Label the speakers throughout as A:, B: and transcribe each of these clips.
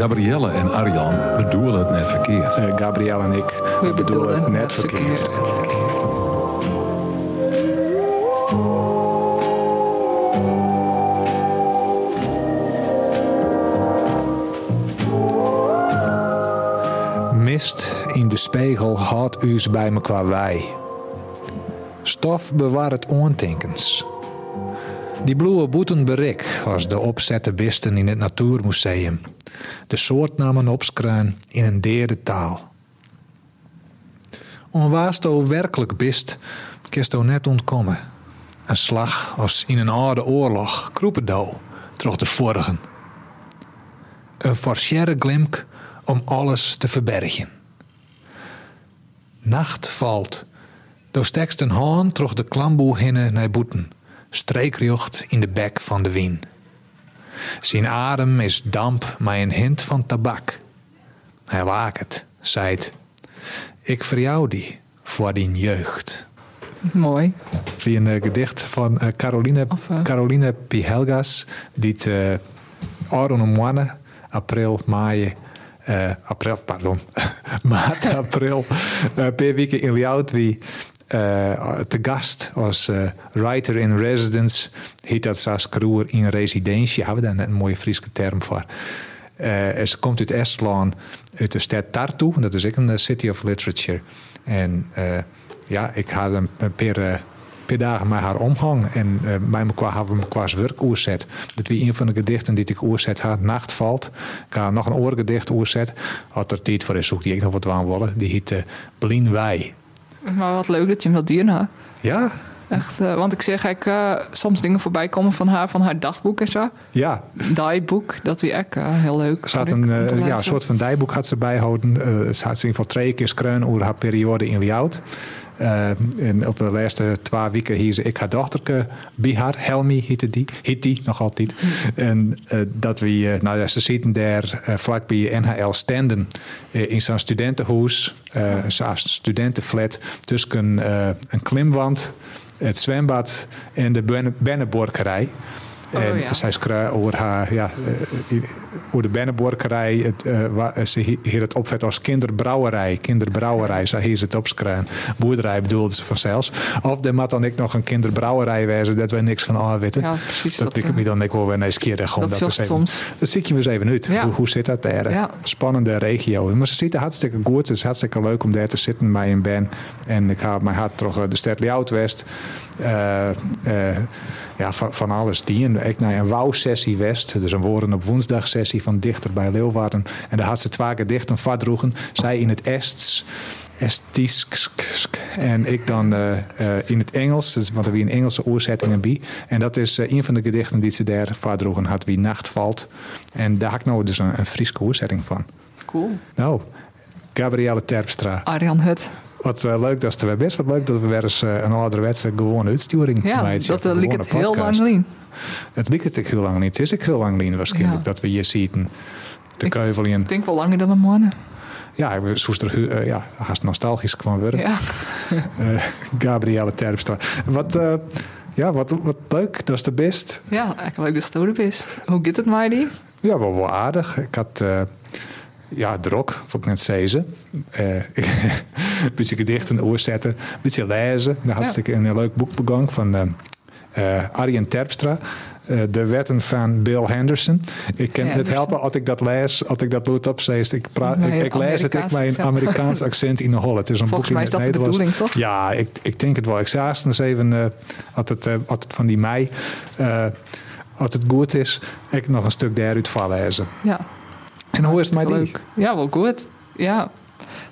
A: Gabrielle en Arjan bedoelen het net verkeerd.
B: Eh, Gabrielle en ik bedoelen, het net verkeerd. Mist in de spiegel houdt u's bij me qua wij. Stof bewaart oontinkens. Die bloeie boeten berik als de opzette bisten in het Natuurmuseum. De soortnamen opskruin in een derde taal. Onwaasto werkelijk bist, kist o net ontkomen. Een slag als in een oude oorlog, kroepedo, troch de vorigen. Een forcere glimp om alles te verbergen. Nacht valt, door stekst een haan troch de klamboe hinne naar boeten, streekjocht in de bek van de wien. Zijn adem is damp, maar een hint van tabak. Hij waakt, zijt. Ik verjouw die voor die jeugd.
C: Mooi.
B: Wie een eh, gedicht van eh, Caroline,
C: Of, eh,
B: Caroline Pihelgas. Die het eh Aron Moanne, april, maai, eh, april, pardon, maart, april, eh, per week in Ljout wie eh, te gast als eh, writer in residence. Heet dat Sas Kroer in residentie. Hebben we daar net een mooie Friese term voor. Eh, en ze komt uit Estland, uit de stad Tartu. Dat is ook een eh, city of literature. En eh, ja, ik had hem eh, per, eh, per dagen met haar omgang. En eh bij me qua hadden we hem qua werk oerzet. Dat wie een van de gedichten die ik oerzet had, Nacht valt. Ik had nog een oorgedicht oerzet. Had er tijd voor is, zoek die ik nog wat aan willen. Die heet eh Blien Wij.
C: Maar wat leuk dat je hem wilt dierna.
B: Ja,
C: Echt, eh, want ik zeg ik eh, soms dingen voorbij komen van haar, van haar dagboek en zo.
B: ja.
C: Die boek, dat wie ik eh, heel leuk.
B: Ze had
C: Leuk
B: een
C: om te
B: eh, ja,
C: lezen.
B: soort van dijboek had ze bijhouden. Eh, ze had in ieder geval twee keer skreun over haar periode in Ljout. Eh, en op de laatste twee weken hier ze ik haar dochterke Bihar, Helmi heette die, heet die nog altijd. En eh, dat we, eh, nou ja, ze zitten daar eh, vlakbij NHL Standen eh, in zo'n studentenhuis, eh zo'n studentenflat, tussen eh, een klimwand, het zwembad en de Benne- Benneborkerij.
C: Oh,
B: en
C: ja.
B: zij skra over haar, ja, eh, eh, over de Benneborkerij. Het, eh, wa- ze hi- hier het opvet als kinderbrouwerij. Kinderbrouwerij, zo hier ze het opskraan. Boerderij bedoelde ze vanzelfs. Of er moet dan ik nog een kinderbrouwerij wezen, dat wij niks van aan weten.
C: Ja, precies,
B: Dat
C: dat,
B: ik
C: eh,
B: me dan ik wel weer eens keer. Gewoon
C: dat
B: eens
C: zocht
B: even-
C: soms.
B: dat zit je weer eens even uit.
C: Ja.
B: Hoe, hoe zit dat daar?
C: Ja.
B: Spannende regio. Maar ze zitten hartstikke goed. Het is hartstikke leuk om daar te zitten bij een band. En ik haal mijn hart toch eh, de stad Ljout-West. Eh, eh, ja, van, van alles. Die en ik naar een wauw-sessie West. Dus een woorden op woensdag-sessie van dichter bij Leeuwarden. En daar had ze twee gedichten vadroegen. Zij in het Ests. Estisks. En ik dan eh, eh, in het Engels, dus- want er wie een Engelse oorzetting en bi. En dat is eh, een van de gedichten die ze daar vaardroegen had, wie nacht valt. En daar had ik nou dus een, een Friese oorzetting van.
C: Cool.
B: Nou, Gabrielle Terpstra.
C: Arjan Hut.
B: Wat eh, leuk dat ze er best wat leuk dat we weer eens eh, een ouderwetse gewone uitsturing
C: Ja,
B: meid,
C: dat
B: een
C: eh, liep
B: gewone
C: het heel lang
B: podcast.
C: zien.
B: Het liep het ik heel lang niet. Het is ik heel lang niet waarschijnlijk
C: Ja.
B: dat we hier zitten. De
C: Ik-
B: keuvel in.
C: Ik denk wel langer dan een morgen.
B: Ja, we zoester eh, ja, haast nostalgisch kwam worden.
C: Ja.
B: eh Gabrielle Terpstra. Wat, eh, ja, wat, wat leuk, dat is de best.
C: ja, eigenlijk leuk dat je er bent. Hoe gaat het, Maidi?
B: Ja, wel, wel aardig. Ik had, eh ja, drok, vond ik net zezen. Eh, een beetje gedichten oorzetten, een beetje lezen. Daar had ik een leuk boek begonnen van eh, eh, Arjen Terpstra. eh, de wetten van Bill Henderson. Ik kan het
C: Henderson.
B: helpen als ik dat lees, als ik dat bloed opzees. Ik, praat,
C: Nee,
B: ik, ik lees het, ik
C: Amerikaans
B: mijn
C: accent.
B: Amerikaans accent in de holle. Het is een
C: Volgens
B: boek
C: mij
B: in
C: is
B: het
C: dat de
B: Nederlands.
C: bedoeling, toch?
B: Ja, ik, ik denk het wel. Ik zag eens even, eh had, het, eh, had het van die mei, eh, als het goed is, ik nog een stuk daaruit van lezen.
C: Ja,
B: En hoe is het mij die?
C: leuk. Ja, wel goed. Ja.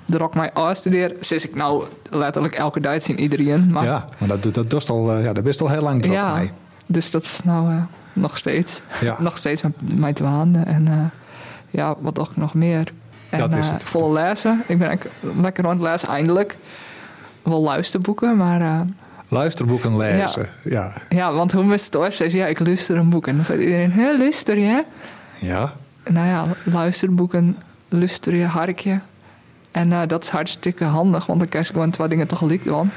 C: De rock mij afstudeer, zes ik nou letterlijk elke dag zien iedereen. Maar
B: Ja, maar dat, dat, dat is al, eh, ja, daar best al heel lang druk
C: Ja,
B: mee.
C: dus dat is nou eh, nog steeds.
B: Ja.
C: Nog steeds met mij te waanden. En eh, ja, wat dacht ik nog meer? En,
B: Dat is
C: eh,
B: het.
C: volle lezen. Ik ben eigenlijk lekker aan het lezen, eindelijk. Wel luisterboeken, maar eh,
B: Luisterboeken lezen. Ja.
C: ja, want hoe mensen het ooit ja, ik luister een boek. En dan zei iedereen, hè, luister je?
B: Ja.
C: Nou ja, luisterboeken, luister je, harkje. En eh, dat is hartstikke handig, want dan kan je gewoon twee dingen tegelijk doen.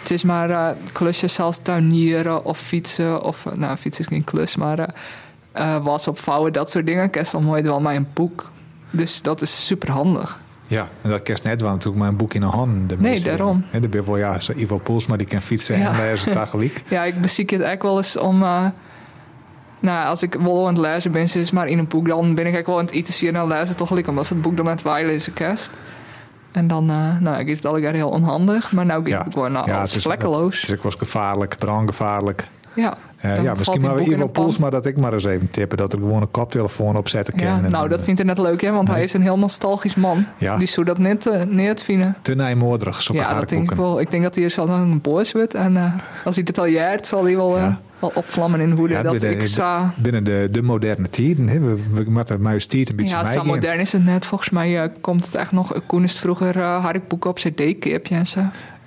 C: Het is maar eh, klusjes zoals tuinieren of fietsen. Of, eh, nou, fietsen is geen klus, maar eh, eh, was opvouwen, dat soort dingen. Kan je dan mooi wel maar een boek. Dus dat is super handig.
B: Ja, en dat kerst net, want natuurlijk mijn boek in de hand. De
C: Nee,
B: meeste
C: daarom.
B: dingen. Hè, De ben wel, ja, zo Ivo Poels, maar die kan fietsen
C: Ja.
B: en hij is het tegelijk.
C: Ja, ik beziek het eigenlijk wel eens om. eh, nou, als ik wel aan het lezen ben, is maar in een boek, dan ben ik eigenlijk wel aan het interesseren en aan het lezen, toch gelijk, omdat het boek dan aan het waaien is, een kerst. En dan, eh nou, ik is het al heel onhandig, maar nou gaat het gewoon nou,
B: Ja,
C: alles
B: het is-
C: vlekkeloos.
B: Het is ook wel eens gevaarlijk, brandgevaarlijk.
C: ja,
B: Eh,
C: Dan
B: ja,
C: valt die
B: misschien maar
C: boek
B: weer
C: in
B: Ivo
C: een pan.
B: Poels, maar dat ik maar eens even tippen. Dat er gewoon een koptelefoon op zetten kan.
C: ja.
B: en,
C: nou, dat vindt hij net leuk, hè, want hij is een heel nostalgisch man.
B: eh, Ja.
C: Die zou dat net, eh, net vinden.
B: Te nijmoordig, zulke
C: Ja, dat denk ik
B: haarkoeken.
C: wel. Ik denk dat hij er zal een boos wordt. En eh, als hij dit al jaart, zal hij wel, eh,
B: Ja.
C: wel opvlammen in woede.
B: Ja,
C: dat
B: binnen,
C: ik zou...
B: binnen de, de moderne tijden. hè. We, we moeten maar eens tijd een beetje
C: Ja,
B: mij
C: zo
B: in.
C: modern is het net. Volgens mij eh, komt het echt nog. Koen is het vroeger eh, had ik boeken op eh, cd-keepje en zo.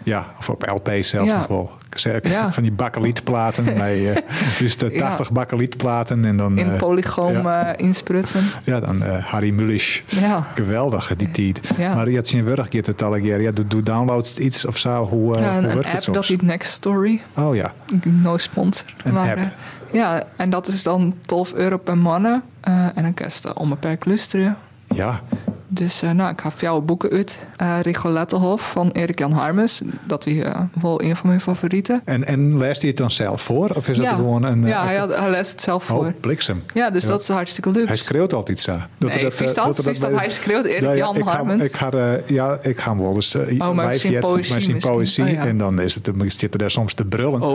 B: Ja, of op LP zelfs
C: Ja.
B: nog wel. Zeg,
C: Ja.
B: Van die bakkelietplaten. bij, eh, dus de
C: Ja.
B: 80 bakkelietplaten. En dan,
C: In
B: eh,
C: polygoon
B: ja.
C: eh, insprutsen.
B: ja, dan eh, Harry Mulisch.
C: Ja.
B: Geweldig, die tijd.
C: Ja.
B: Maar je had zien wurg je het al een keer. Ja, doe, doe downloads iets of zo. Hoe, eh
C: Ja,
B: hoe
C: een, een
B: werkt het
C: app
B: zo?
C: dat heet Next Story.
B: Oh ja,
C: No sponsor.
B: Een
C: maar,
B: app.
C: eh, ja, en dat is dan 12 euro per mannen. eh, en dan kerst je onbeperkt luisteren.
B: ja.
C: Dus eh, nou, ik heb jouw boeken uit. eh Rigolettehof van Erik-Jan Harmes. Dat is eh, wel een van mijn favorieten.
B: En, en leest hij het dan zelf voor? Of is dat gewoon een... eh,
C: ja hij, had, hij leest het zelf voor.
B: Oh, bliksem.
C: ja, dus
B: Ja.
C: dat is hartstikke leuk.
B: Hij schreeuwt altijd zo. Dat
C: Nee,
B: er
C: vies
B: eh,
C: dat?
B: er
C: Vies dat
B: bij-
C: hij schreeuwt, Erik Jan
B: ik ga-
C: Harmens?
B: Ik ga, eh, ja, ik ga hem wel eens eh,
C: maar
B: wijf
C: misschien
B: jet,
C: poëzie
B: maar zien
C: misschien.
B: poëzie.
C: Oh, ja.
B: En dan is het, dan zit er daar soms te brullen.
C: Oh,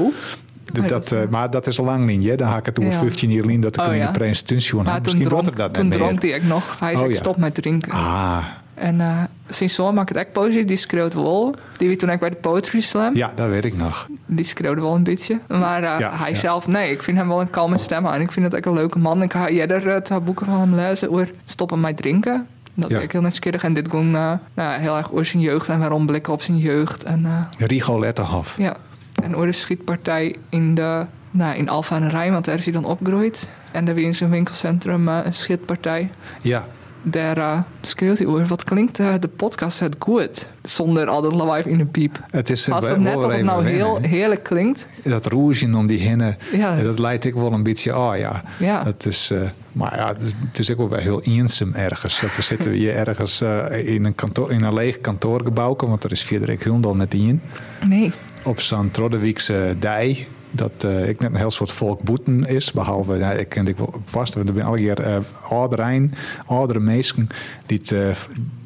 B: Dat-
C: Oh,
B: dat,
C: dat,
B: eh, maar dat is lang niet. hè. Dan haak ik het over
C: Ja.
B: 15 jaar in dat ik
C: Oh,
B: hem in
C: ja.
B: de presentatie
C: maar
B: had.
C: toen,
B: Misschien wordt
C: dronk,
B: er dat
C: toen
B: net meer.
C: dronk hij ook nog. Hij zei,
B: Oh,
C: ik
B: ja.
C: stop met drinken.
B: Ah,
C: En eh sinds zo maak ik het echt positief. Die schreeuwt wel. Die we toen ik bij de Poetry Slam.
B: ja, dat weet ik nog.
C: Die schreeuwde wel een beetje. Maar eh,
B: Ja,
C: hij
B: ja. Oh.
C: zelf, nee, ik vind hem wel een kalme stem. En ik vind het echt een leuke man. Ik ga eerder eh, twee boeken van hem lezen over stoppen met drinken. Dat
B: Ja.
C: vind ik heel nieuwsgierig. En dit ging eh, nou, heel erg over zijn jeugd en waarom blikken op zijn jeugd. En eh,
B: Rigo Lettenhof.
C: Ja, en oor de schietpartij in, de, nou, in Alfa aan de Rijn, want daar is hij dan opgegroeid. En daar weer in zijn winkelcentrum eh, een schietpartij.
B: Ja.
C: Daar eh, schreeuwt hij over. Wat klinkt eh, de podcast het goed? Zonder al dat lawaai in de piep.
B: Het is
C: Als
B: wel-
C: het net
B: wel
C: dat het
B: even
C: nou
B: wennen,
C: heel
B: hè.
C: heerlijk klinkt.
B: dat roesje om die hinnen,
C: Ja.
B: eh, dat leidt ik wel een beetje. Oh ja,
C: Ja.
B: dat is. eh, maar ja, het is ook wel weer heel eenzaam ergens. Dat we zitten hier ergens eh, in, een kantoor, in een leeg kantoorgebouw, want er is Frederik Hundal net in.
C: Nee.
B: Op zo'n Troddewiekse dij. Dat eh, ik net een heel soort volk boeten is. Behalve, ja, ik ken ik wel vast, want er zijn alle keer eh ouder een, oudere mensen. die het, eh,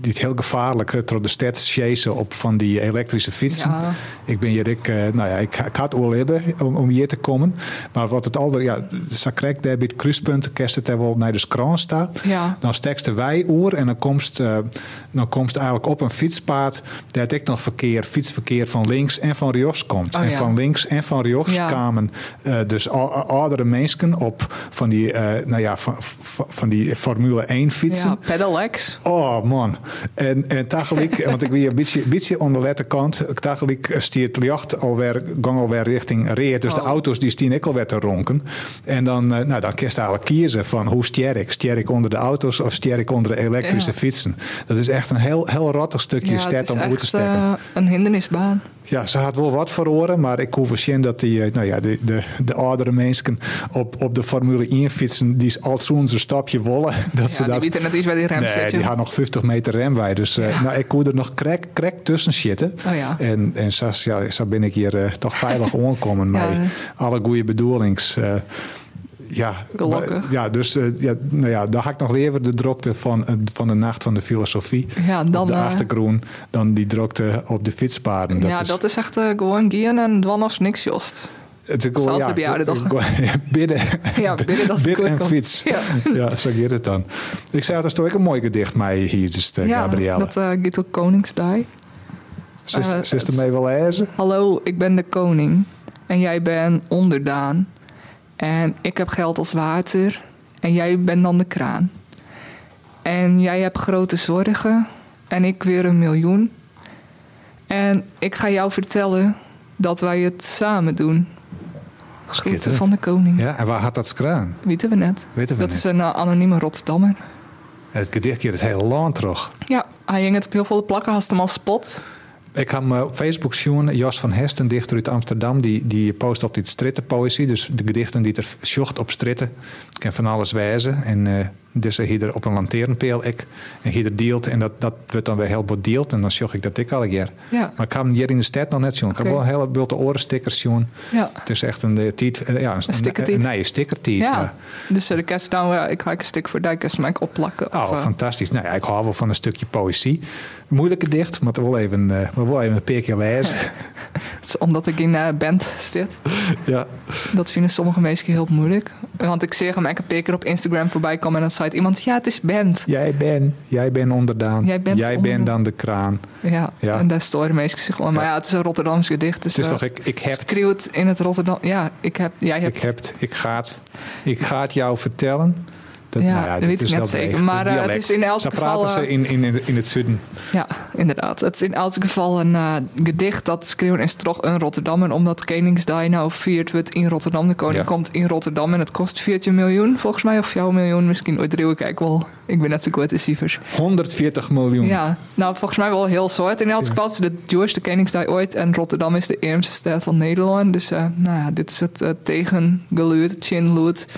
B: die het heel gevaarlijk eh, door de stad chasen op van die elektrische fietsen.
C: Ja.
B: Ik ben hier, ik, eh, nou ja, ik, ik had oorlog hebben om, om hier te komen. Maar wat het altijd, ja, Sakrek, daar bij het kruispunt, kerst het daar wel naar de kraan staat.
C: Ja.
B: Dan stekste wij oer en dan komst, eh, dan komst eigenlijk op een fietspaad. Daar had ik nog verkeer, fietsverkeer van links en van rechts komt.
C: Oh,
B: en
C: ja.
B: van links en van rechts
C: Ja.
B: kwamen eh, dus o- o- oudere mensen op van die, eh, nou ja, van, van, van die Formule 1 fietsen.
C: Ja, pedelecs.
B: Oh man. En, en tegelijk, want ik weer een beetje, beetje onder letterkant. Tegelijk stiert het licht alweer, gang alweer richting Reert. Dus de
C: Oh.
B: auto's die stien ik alweer te ronken. En dan, eh, nou, dan kun je eigenlijk kiezen van hoe stier ik. Stier ik onder de auto's of stier ik onder de elektrische
C: Ja.
B: fietsen. Dat is echt een heel, heel rottig stukje
C: Ja,
B: stad
C: het
B: om
C: is
B: uit te
C: echt
B: stekken.
C: eh, een hindernisbaan.
B: Ja, ze had wel wat verloren, maar ik hoef zien dat die, eh, nou ja, de, de, de oudere mensen op, op de Formule 1 fietsen, die is al zo'n zijn stapje wollen. Dat ze
C: Ja, die
B: dat,
C: biedt er net iets bij die rem
B: Nee,
C: zitten.
B: die had nog 50 meter remwij. Dus eh, nou, ik kon er nog krek, krek tussen zitten.
C: Oh ja.
B: En, en zo, ja, zo ben ik hier eh, toch veilig omgekomen. Maar
C: Ja.
B: alle goede bedoelings. eh, ja,
C: Gelukkig.
B: Maar, ja, dus eh, ja, nou ja, daar had ik nog liever de drokte van, eh, van de nacht van de filosofie
C: Ja, dan,
B: op de
C: eh,
B: achtergrond dan die drokte op de fietspaden.
C: ja, dat is echt eh, gewoon gien en dwan als niks, Jost.
B: Het is
C: Zelfs de bejaarde dag.
B: Bidden.
C: Ja, bidden dat het
B: Bid
C: goed
B: en
C: komt.
B: fiets. Ja.
C: Ja.
B: zo gaat het dan. Ik zei, dat is toch ook een mooi gedicht mij hier, dus, eh,
C: ja,
B: Gabrielle.
C: dat eh gaat op Koningsdag.
B: Zist
C: Eh,
B: zist
C: het-
B: ermee wel lezen?
C: Hallo, ik ben de koning en jij bent onderdaan. En ik heb geld als water en jij bent dan de kraan. En jij hebt grote zorgen en ik weer een miljoen. En ik ga jou vertellen dat wij het samen doen. Groeten
B: Schitterend.
C: van de koning.
B: Ja, en waar had dat skraan?
C: Weten we net.
B: Weten we
C: dat
B: net.
C: is een eh, anonieme Rotterdammer.
B: Het gedicht hier het hele land terug.
C: Ja, hij hing het op heel veel plakken, had hem al spot.
B: Ik had me op Facebook zien, Jos van Hesten, dichter uit Amsterdam, die, die post altijd strittenpoëzie. Dus de gedichten die er sjocht op stritten. Het kan van alles wijzen. En eh, Dus hij hier op een lanterenpeel ik. En hier deelt. En dat, dat wordt dan weer heel goed deelt. En dan zorg ik dat ik al een keer.
C: Ja,
B: Maar ik kan hem hier in de stad nog net zien. Ik heb
C: Oké.
B: wel een heleboel de orenstickers zien.
C: ja.
B: Het is echt een, eh, tiet, eh, ja, een,
C: Een stickertiet.
B: een nieuwe stickertiet.
C: Ja, dus eh, de kerst nou, ja, ik ga een stuk voor dijkers, maar ik opplakken.
B: Ja.
C: of,
B: Oh,
C: eh,
B: fantastisch. Nou ja, ik hou wel van een stukje poëzie. Moeilijke dicht, maar wel even, eh, maar wel even een paar keer lezen.
C: het is omdat ik in eh band zit.
B: ja.
C: Dat vinden sommige mensen heel moeilijk. Want ik zeg hem elke paar keer op Instagram voorbij komen en dan zei iemand: Ja, het is band.
B: Jij bent, jij bent onderdaan.
C: Jij bent onderdaan.
B: bent dan de kraan.
C: Ja,
B: Ja.
C: en daar storen mensen zich gewoon. Maar
B: Ja.
C: ja, het is een Rotterdams gedicht. Dus
B: Het is
C: eh,
B: toch, ik, ik heb,
C: schreeuwt in het Rotterdam. Ja, ik heb, jij hebt.
B: ik heb, het, ik ga het, ik ga het jou vertellen. Dat,
C: Ja,
B: nou
C: dat
B: dit
C: weet ik
B: is
C: net
B: wel
C: zeker.
B: dreig.
C: Maar,
B: is
C: eh, het
B: dialect.
C: is in elk
B: Dan
C: geval,
B: praten ze
C: eh,
B: in, in, in, het zuiden.
C: Ja, inderdaad. Het is in elk geval een eh, gedicht dat schreeuwen is toch een Rotterdam. En omdat Koningsdag nou viert wordt in Rotterdam. De koning
B: Ja.
C: komt in Rotterdam en het kost 14 miljoen volgens mij. Of jouw miljoen misschien. Ooit ik kijk wel. Ik ben net zo goed in cijfers.
B: 140 miljoen.
C: Ja, nou volgens mij wel heel soort. In elk geval is de duurste Koningsdag ooit. En Rotterdam is de eerste stad van Nederland. Dus eh, nou ja, dit is het eh, tegengeluid, chinluid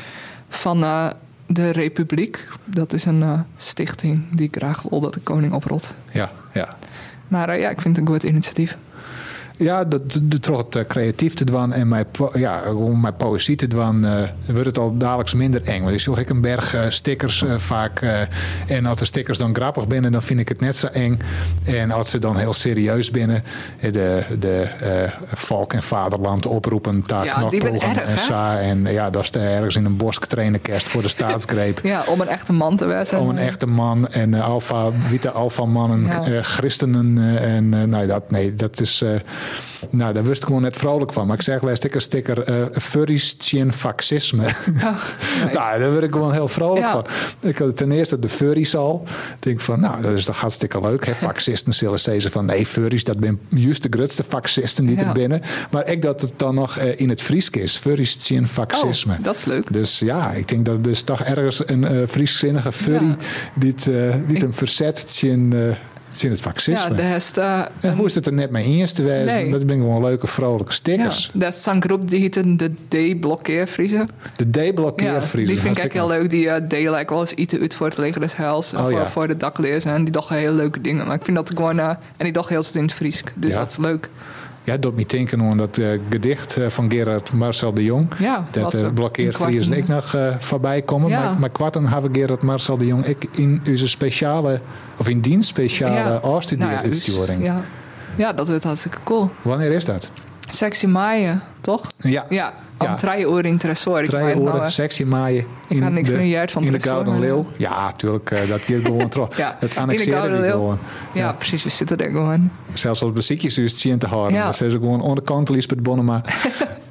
C: van eh, de Republiek. Dat is een eh, stichting die graag wil dat de koning oprot.
B: ja, ja.
C: Maar eh, ja, ik vind het een goed initiatief.
B: Ja, dat, dat, toch het eh, creatief te doen en mijn, po- ja, om mijn poëzie te doen, eh, wordt het al dadelijks minder eng. Want ik zoek ik een berg eh, stickers eh, vaak. eh, en als de stickers dan grappig binnen, dan vind ik het net zo eng. En als ze dan heel serieus binnen, eh, de, de eh, valk en vaderland oproepen, taak
C: Ja, die ben erg,
B: en
C: hè?
B: sa. En eh, ja, dat is er ergens in een bos trainen kerst voor de staatsgreep.
C: Ja, om een echte man te wezen.
B: Om een echte man en eh, alfa, witte alfa-mannen,
C: Ja.
B: eh, christenen. eh, en eh, nou, dat, nee, dat is. eh, nou, daar wist ik gewoon net vrolijk van. Maar ik zeg bij sticker, sticker. eh furries, chin, faxisme.
C: Oh, nice.
B: nou, daar word ik gewoon heel vrolijk
C: Ja.
B: van. Ik had ten eerste de furries al. Ik denk van, nou, dat is toch hartstikke leuk. Hè? Faxisten zullen zeggen van, nee, furries, dat ben juist de grootste faxisten die
C: Ja.
B: er binnen. Maar ik dat het dan nog eh, in het Fries is. Furries, chin, faxisme.
C: Oh, dat is leuk.
B: Dus ja, ik denk dat dus toch ergens een eh Frieszinnige furry
C: Ja.
B: die, het, eh, die het hem verzet in, eh, in het
C: Ja,
B: fascisme.
C: de hest. eh,
B: en hoe is het er net mee eens te wijzen?
C: Nee.
B: Dat ben ik gewoon leuke, vrolijke
C: ja,
B: stickers.
C: dat is zo'n groep die heet de D-blokkeervriezen.
B: De
C: Ja,
B: deblokkeervriezen.
C: die vind ik echt
B: hartstikke-
C: heel leuk. Die eh delen ik wel eens eten uit voor het leger des huils. en
B: Oh,
C: voor,
B: ja.
C: voor de dakleers. En die dachten hele leuke dingen. Maar ik vind dat gewoon... eh, en die dachten heel zit in het Fries. Dus
B: Ja.
C: dat is leuk.
B: Ja, dat me denken aan dat eh, gedicht eh, van Gerard Marcel de Jong.
C: Ja,
B: Dat
C: wat we-
B: eh blokkeervriezen
C: een
B: ik nog eh, voorbij komen.
C: Ja.
B: Maar, maar kwarten hebben Gerard Marcel de Jong ik in onze speciale, of in dienst speciale
C: Nou ja, dus-
B: afstudeeruitsturing.
C: ja. ja, dat wordt hartstikke cool.
B: Wanneer is dat?
C: Sexy maaien, toch?
B: Ja,
C: Ja, om
B: Ja.
C: drie uur in Tresor. Ik weet
B: Drie
C: het nou,
B: oren,
C: eh.
B: sexy maaien.
C: ga niks meer juist van
B: In de
C: Tresor,
B: Gouden
C: maar-
B: Leeuw. Ja, tuurlijk. eh, dat geeft gewoon trots.
C: Ja, in
B: Dat
C: de
B: annexeren
C: Gouden
B: die
C: Leeuw.
B: gewoon.
C: eh. ja, precies. We zitten er gewoon.
B: Zelfs als muziekjes dus zien te houden.
C: Ja.
B: Dan zijn ze gewoon aan de kant, Lisbeth Bonnema.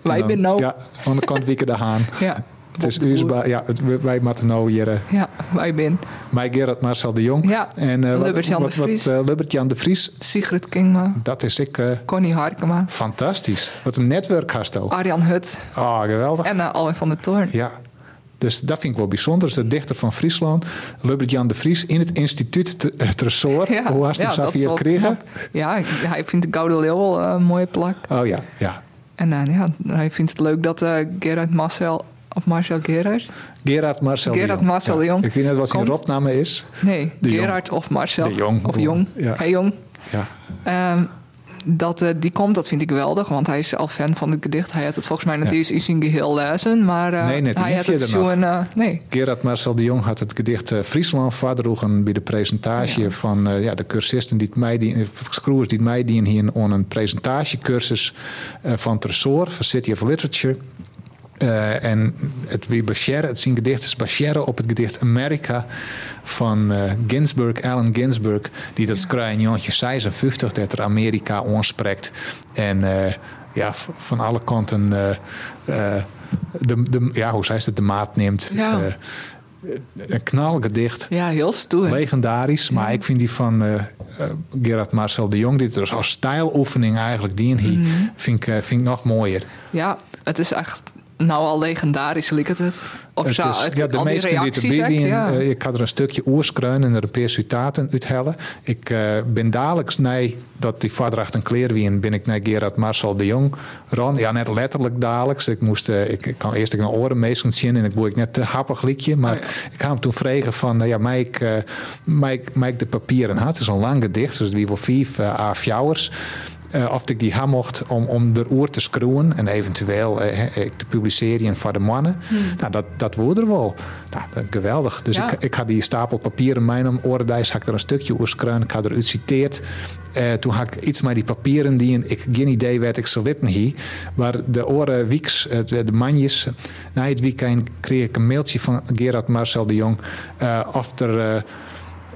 B: En dan-
C: ben nou-
B: Ja, aan de kant wieken de haan.
C: Ja.
B: Het is
C: Op de boer.
B: uurbaar. Ja, het- we- wij moeten nou hier... eh,
C: Ja, wij ben.
B: Mij Gerard Marcel de Jong.
C: Ja,
B: En eh, wat-
C: Lubbert-Jan
B: wat-
C: de
B: wat,
C: Vries.
B: eh, Lubbert-Jan de Vries.
C: Sigrid Kingma,
B: Dat is ik... eh,
C: Connie Harkema,
B: fantastisch. Wat een netwerk hast ook.
C: Arjan Hut
B: Ah, geweldig.
C: en eh, Alwin van der Toorn.
B: Ja. Dus dat vind ik wel bijzonder. Dat is de dichter van Friesland, Lubbert Jan de Vries, in het instituut Te- eh, Tresor. Hoe haast hem
C: ja,
B: zo
C: dat is
B: via
C: wel
B: kregen?
C: knap. Ja, ik- hij vindt de Gouden Leeuw wel eh, een mooie plak.
B: Oh ja, ja.
C: En eh, ja, hij vindt het leuk dat eh Gerard Marcel, of Marcel Gerard?
B: Gerard Marcel de
C: Gerard
B: Jong.
C: Marcel
B: Ja.
C: de Jong
B: Ik weet net wat zijn
C: komt-
B: opname is.
C: Nee,
B: De Jong.
C: Gerard of Marcel.
B: De Jong,
C: Of
B: bedoel-
C: Jong.
B: ja.
C: Hey Jong.
B: Ja.
C: Ehm, dat eh, die komt, dat vind ik geweldig, want hij is al fan van het gedicht. Hij had het volgens mij natuurlijk eens in geheel lezen, maar eh,
B: Nee, net
C: hij
B: niet
C: had het
B: verder nog.
C: zo'n... eh, nee,
B: Gerard Marcel de Jong had het gedicht eh, Friesland vaderroegen bij de presentatie
C: Ja.
B: van eh, ja, de cursisten die het mij die screwers die het mij dienen hier aan een presentatiecursus eh, van Tresor van City of Literature. Eh, en het weer Bashar, het zijn gedicht is Bashar op het gedicht Amerika van eh, Ginsberg, Allen Ginsberg, die dat schrijft in Jantje 56 dat er Amerika aanspreekt. En eh, ja, v- van alle kanten eh, eh, de, de, ja, hoe zei ze het, de maat neemt.
C: Ja.
B: Eh, een Eh, knalgedicht.
C: ja, heel stoer.
B: Legendarisch, maar ik vind die van eh, eh, Gerard Marcel de Jong, die dus
C: Mhm.
B: als stijloefening eigenlijk die en die, vind, ik, eh, vind ik nog mooier.
C: Ja, het is echt nou al legendarisch, liek het het? Of
B: Het
C: zo,
B: is-
C: het,
B: ja, de
C: al die
B: meesten die
C: reacties,
B: te bieden,
C: echt, ja.
B: eh, ik had er een stukje oerskruin en er een paar citaten uithellen. Ik eh, ben dadelijk nee dat die vaderdracht en kleer wien, ben ik naar Gerard Marcel de Jong. Ron, ja, net letterlijk dadelijk. Ik moest, eh, ik, ik kan eerst ik naar oren meestal zien en ik boei ik net te happig liedje. Maar
C: Oh,
B: ik had hem toen vragen van, nou ja, Mike, eh Mike, Mike de papieren had. Het is een lang gedicht, dus die wil vijf a of ik die ham mocht om, om de oer te screwen en eventueel eh, hè, ik te publiceren voor de mannen. Nou, dat, dat wordt er wel. Nou, dat- geweldig. Dus
C: Ja.
B: ik, ik had die stapel papieren in mijn om orendijs, had ik er een stukje oer screun, ik had eruit citeerd. Eh, toen had ik iets met die papieren die en ik geen idee werd ik ze litten hier. Maar de oren wieks, eh, de de manjes, na het weekend kreeg ik een mailtje van Gerard Marcel de Jong. eh, of er.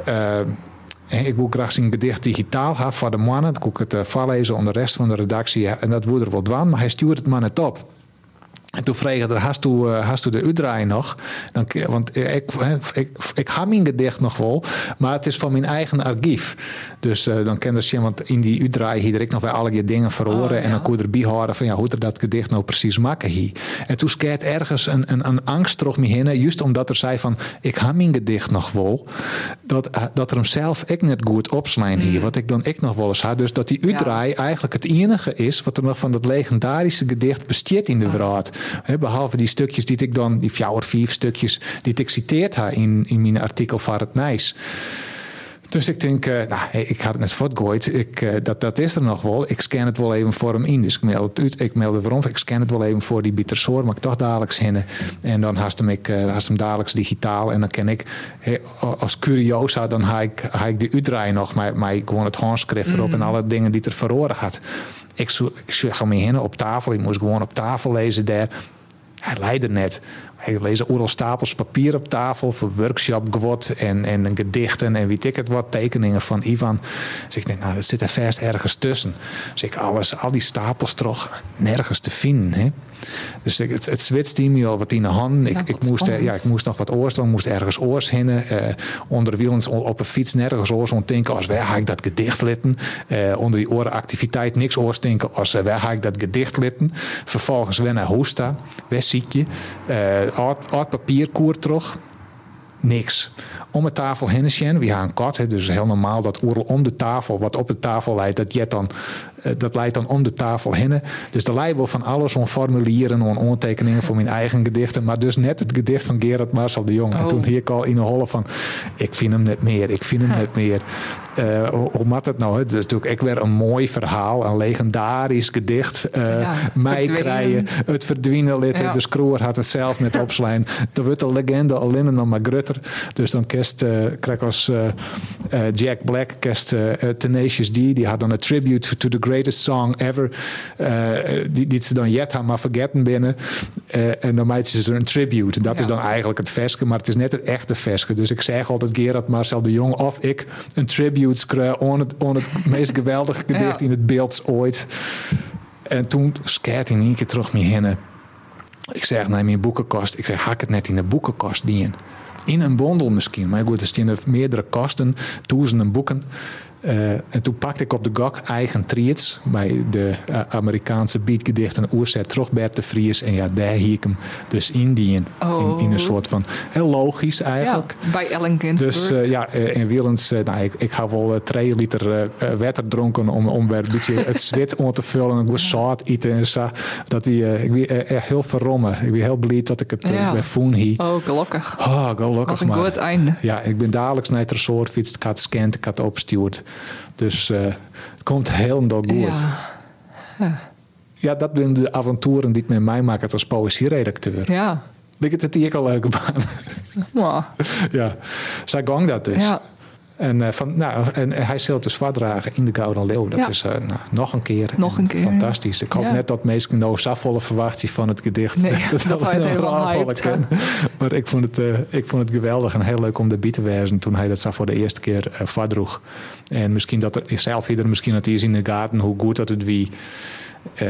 B: eh, eh, ik wil graag zijn gedicht digitaal hebben voor de mannen. Dan kon ik het eh, voorlezen onder de rest van de redactie. En dat wordt er wel dwaan, maar hij stuurt het maar net op. En toen vroeg ik haar, hast u, eh, hast u de uitdraai nog? Dan, k- want eh, ik, eh, ik, ik ga mijn gedicht nog wel, maar het is van mijn eigen archief. Dus eh, dan kan je zien, want in die uitdraai hier ik nog wel alle je dingen verhoren.
C: Oh, ja.
B: En dan kon je erbij horen van ja, hoe er dat gedicht nou precies maken hier. En toen skeert ergens een, een, een angst door me heen, juist omdat er zei van ik ga mijn gedicht nog wel. Dat, eh, dat er hem zelf ik net goed opslaan hier,
C: Mm.
B: wat ik dan ik nog wel eens had. Dus dat die uitdraai eigenlijk het enige is wat er nog van dat legendarische gedicht bestiert in de wereld. Hè, behalve die stukjes die ik dan, die fjouwer vier stukjes, die ik citeerd ha in, in mijn artikel van het Nijs. Dus ik denk, eh, nou, hey, ik had het net voortgooid. Ik, eh, dat, dat is er nog wel. Ik scan het wel even voor hem in. Dus ik mail het uit. Ik mail het waarom. Ik scan het wel even voor die bittersoor. Maar ik toch dadelijk hinnen. En dan haast hem, ik, eh, haast hem dadelijk digitaal. En dan ken ik, hey, als curiosa, dan haal ik, haal ik de uitdraai nog. Maar, maar gewoon het handschrift erop en alle dingen die het er verloren had. Ik, zo, ik zeg hem heen op tafel. Ik moest gewoon op tafel lezen daar. Hij leidde net. Hij lezen oeral stapels papier op tafel voor workshop gewot en, en gedichten en weet ik het wat, tekeningen van Ivan. Dus ik denk, nou, dat zit er vast ergens tussen. Dus ik alles, al die stapels toch nergens te vinden. Hè? Dus ik, het, het zwitste me al wat in de handen. Ik,
C: Ja,
B: ik,
C: wat
B: moest, eh,
C: spannend.
B: ja, ik moest nog wat oors doen, moest ergens oors hinnen. Eh onder wielens o- op een fiets nergens oors ontinken. Als waar ga ik dat gedicht litten? Eh, onder die oren activiteit niks oors tinken. Als eh, waar ga ik dat gedicht litten? Vervolgens weer naar Hoesta, weer ziekje. Eh oud, oud papierkoer terug. Niks. Om de tafel heen zien, we gaan een kat, hè, dus heel normaal dat oerl om de tafel, wat op de tafel leidt, dat, jet dan, eh, dat leidt dan om de tafel heen. Dus er leidt wel van alles, om formulieren, om ondertekeningen voor mijn eigen gedichten, maar dus net het gedicht van Gerard Marcel de Jong. En
C: Oh.
B: toen hier ik al in de holle van, ik vind hem net meer, ik vind hem net meer. Eh, hoe, hoe mat het nou? hè? Het is natuurlijk echt weer een mooi verhaal, een legendarisch gedicht. eh
C: Ja,
B: mij
C: verdwenen.
B: krijgen, het verdwenen Dus litten,
C: Ja.
B: de Kroer had het zelf met opslijn. Er wordt de legende alleen nog maar grutter. Dus dan kerst eh krijg als eh, eh, Jack Black, kerst eh, eh, Tenacious D, die had dan een tribute to the greatest song ever. eh, die, die ze dan yet hebben maar vergeten binnen. Eh, en dan maakt ze er een tribute. Dat is
C: Ja.
B: dan eigenlijk het verske, maar het is net het echte verske. Dus ik zeg altijd Gerard Marcel de Jong of ik een tribute schrijf on het, on het meest geweldige gedicht
C: Ja.
B: in het beeld ooit. En toen skeert hij in één keer terug me heen. Ik zeg naar mijn boekenkast. Ik zeg, hak het net in de boekenkast dien. In een bondel misschien. Maar goed, er staan er meerdere kasten, duizenden boeken. Eh, en toen pakte ik op de gok eigen triets bij de eh, Amerikaanse beatgedichten Oerzet terug Bert de Vries. En ja, daar hie ik hem dus in dien. In, in een
C: Oh.
B: soort van, heel logisch
C: Ja,
B: eigenlijk.
C: bij Ellen Ginsberg.
B: Dus eh, ja, eh, in Wielens, eh, nou, ik, ik ga wel eh, twee liter eh, eh, water dronken om, om weer een beetje het zwit om te vullen. En goed zout eten en zo. Dat wie, eh, ik wie eh, echt heel verrommen. Ik ben heel blij dat ik het
C: Ja.
B: eh, weer voel hier.
C: Oh, gelukkig.
B: Oh,
C: Wat
B: gelukkig
C: een
B: maar.
C: goed einde.
B: Ja, ik ben dadelijks naar het resort fietst. Ik had scant, ik had opgestuurd. Dus eh, het komt helemaal goed. Ja.
C: Ja.
B: dat zijn de avonturen die het met mij maakt als poëzieredacteur.
C: Ja.
B: Lijkt het hier ook een leuke baan?
C: Nou,
B: ja, zij gang dat dus.
C: ja.
B: En, eh, van, nou, en, en hij zult dus voordragen in de Gouden Leeuw. Dat
C: Ja.
B: is eh, nou, nog een keer.
C: Nog een keer,
B: Fantastisch. Ik hoop
C: ja.
B: net dat mensen nou volle verwachting van het gedicht.
C: Nee, dat hij het helemaal
B: raar vallen
C: hyped,
B: kan. Maar ik vond, het, eh, ik vond het geweldig en heel leuk om erbij te wezen toen hij dat zo voor de eerste keer eh voordroeg. En misschien dat er zelf hier misschien dat hij is in de gaten hoe goed dat het wie. Eh,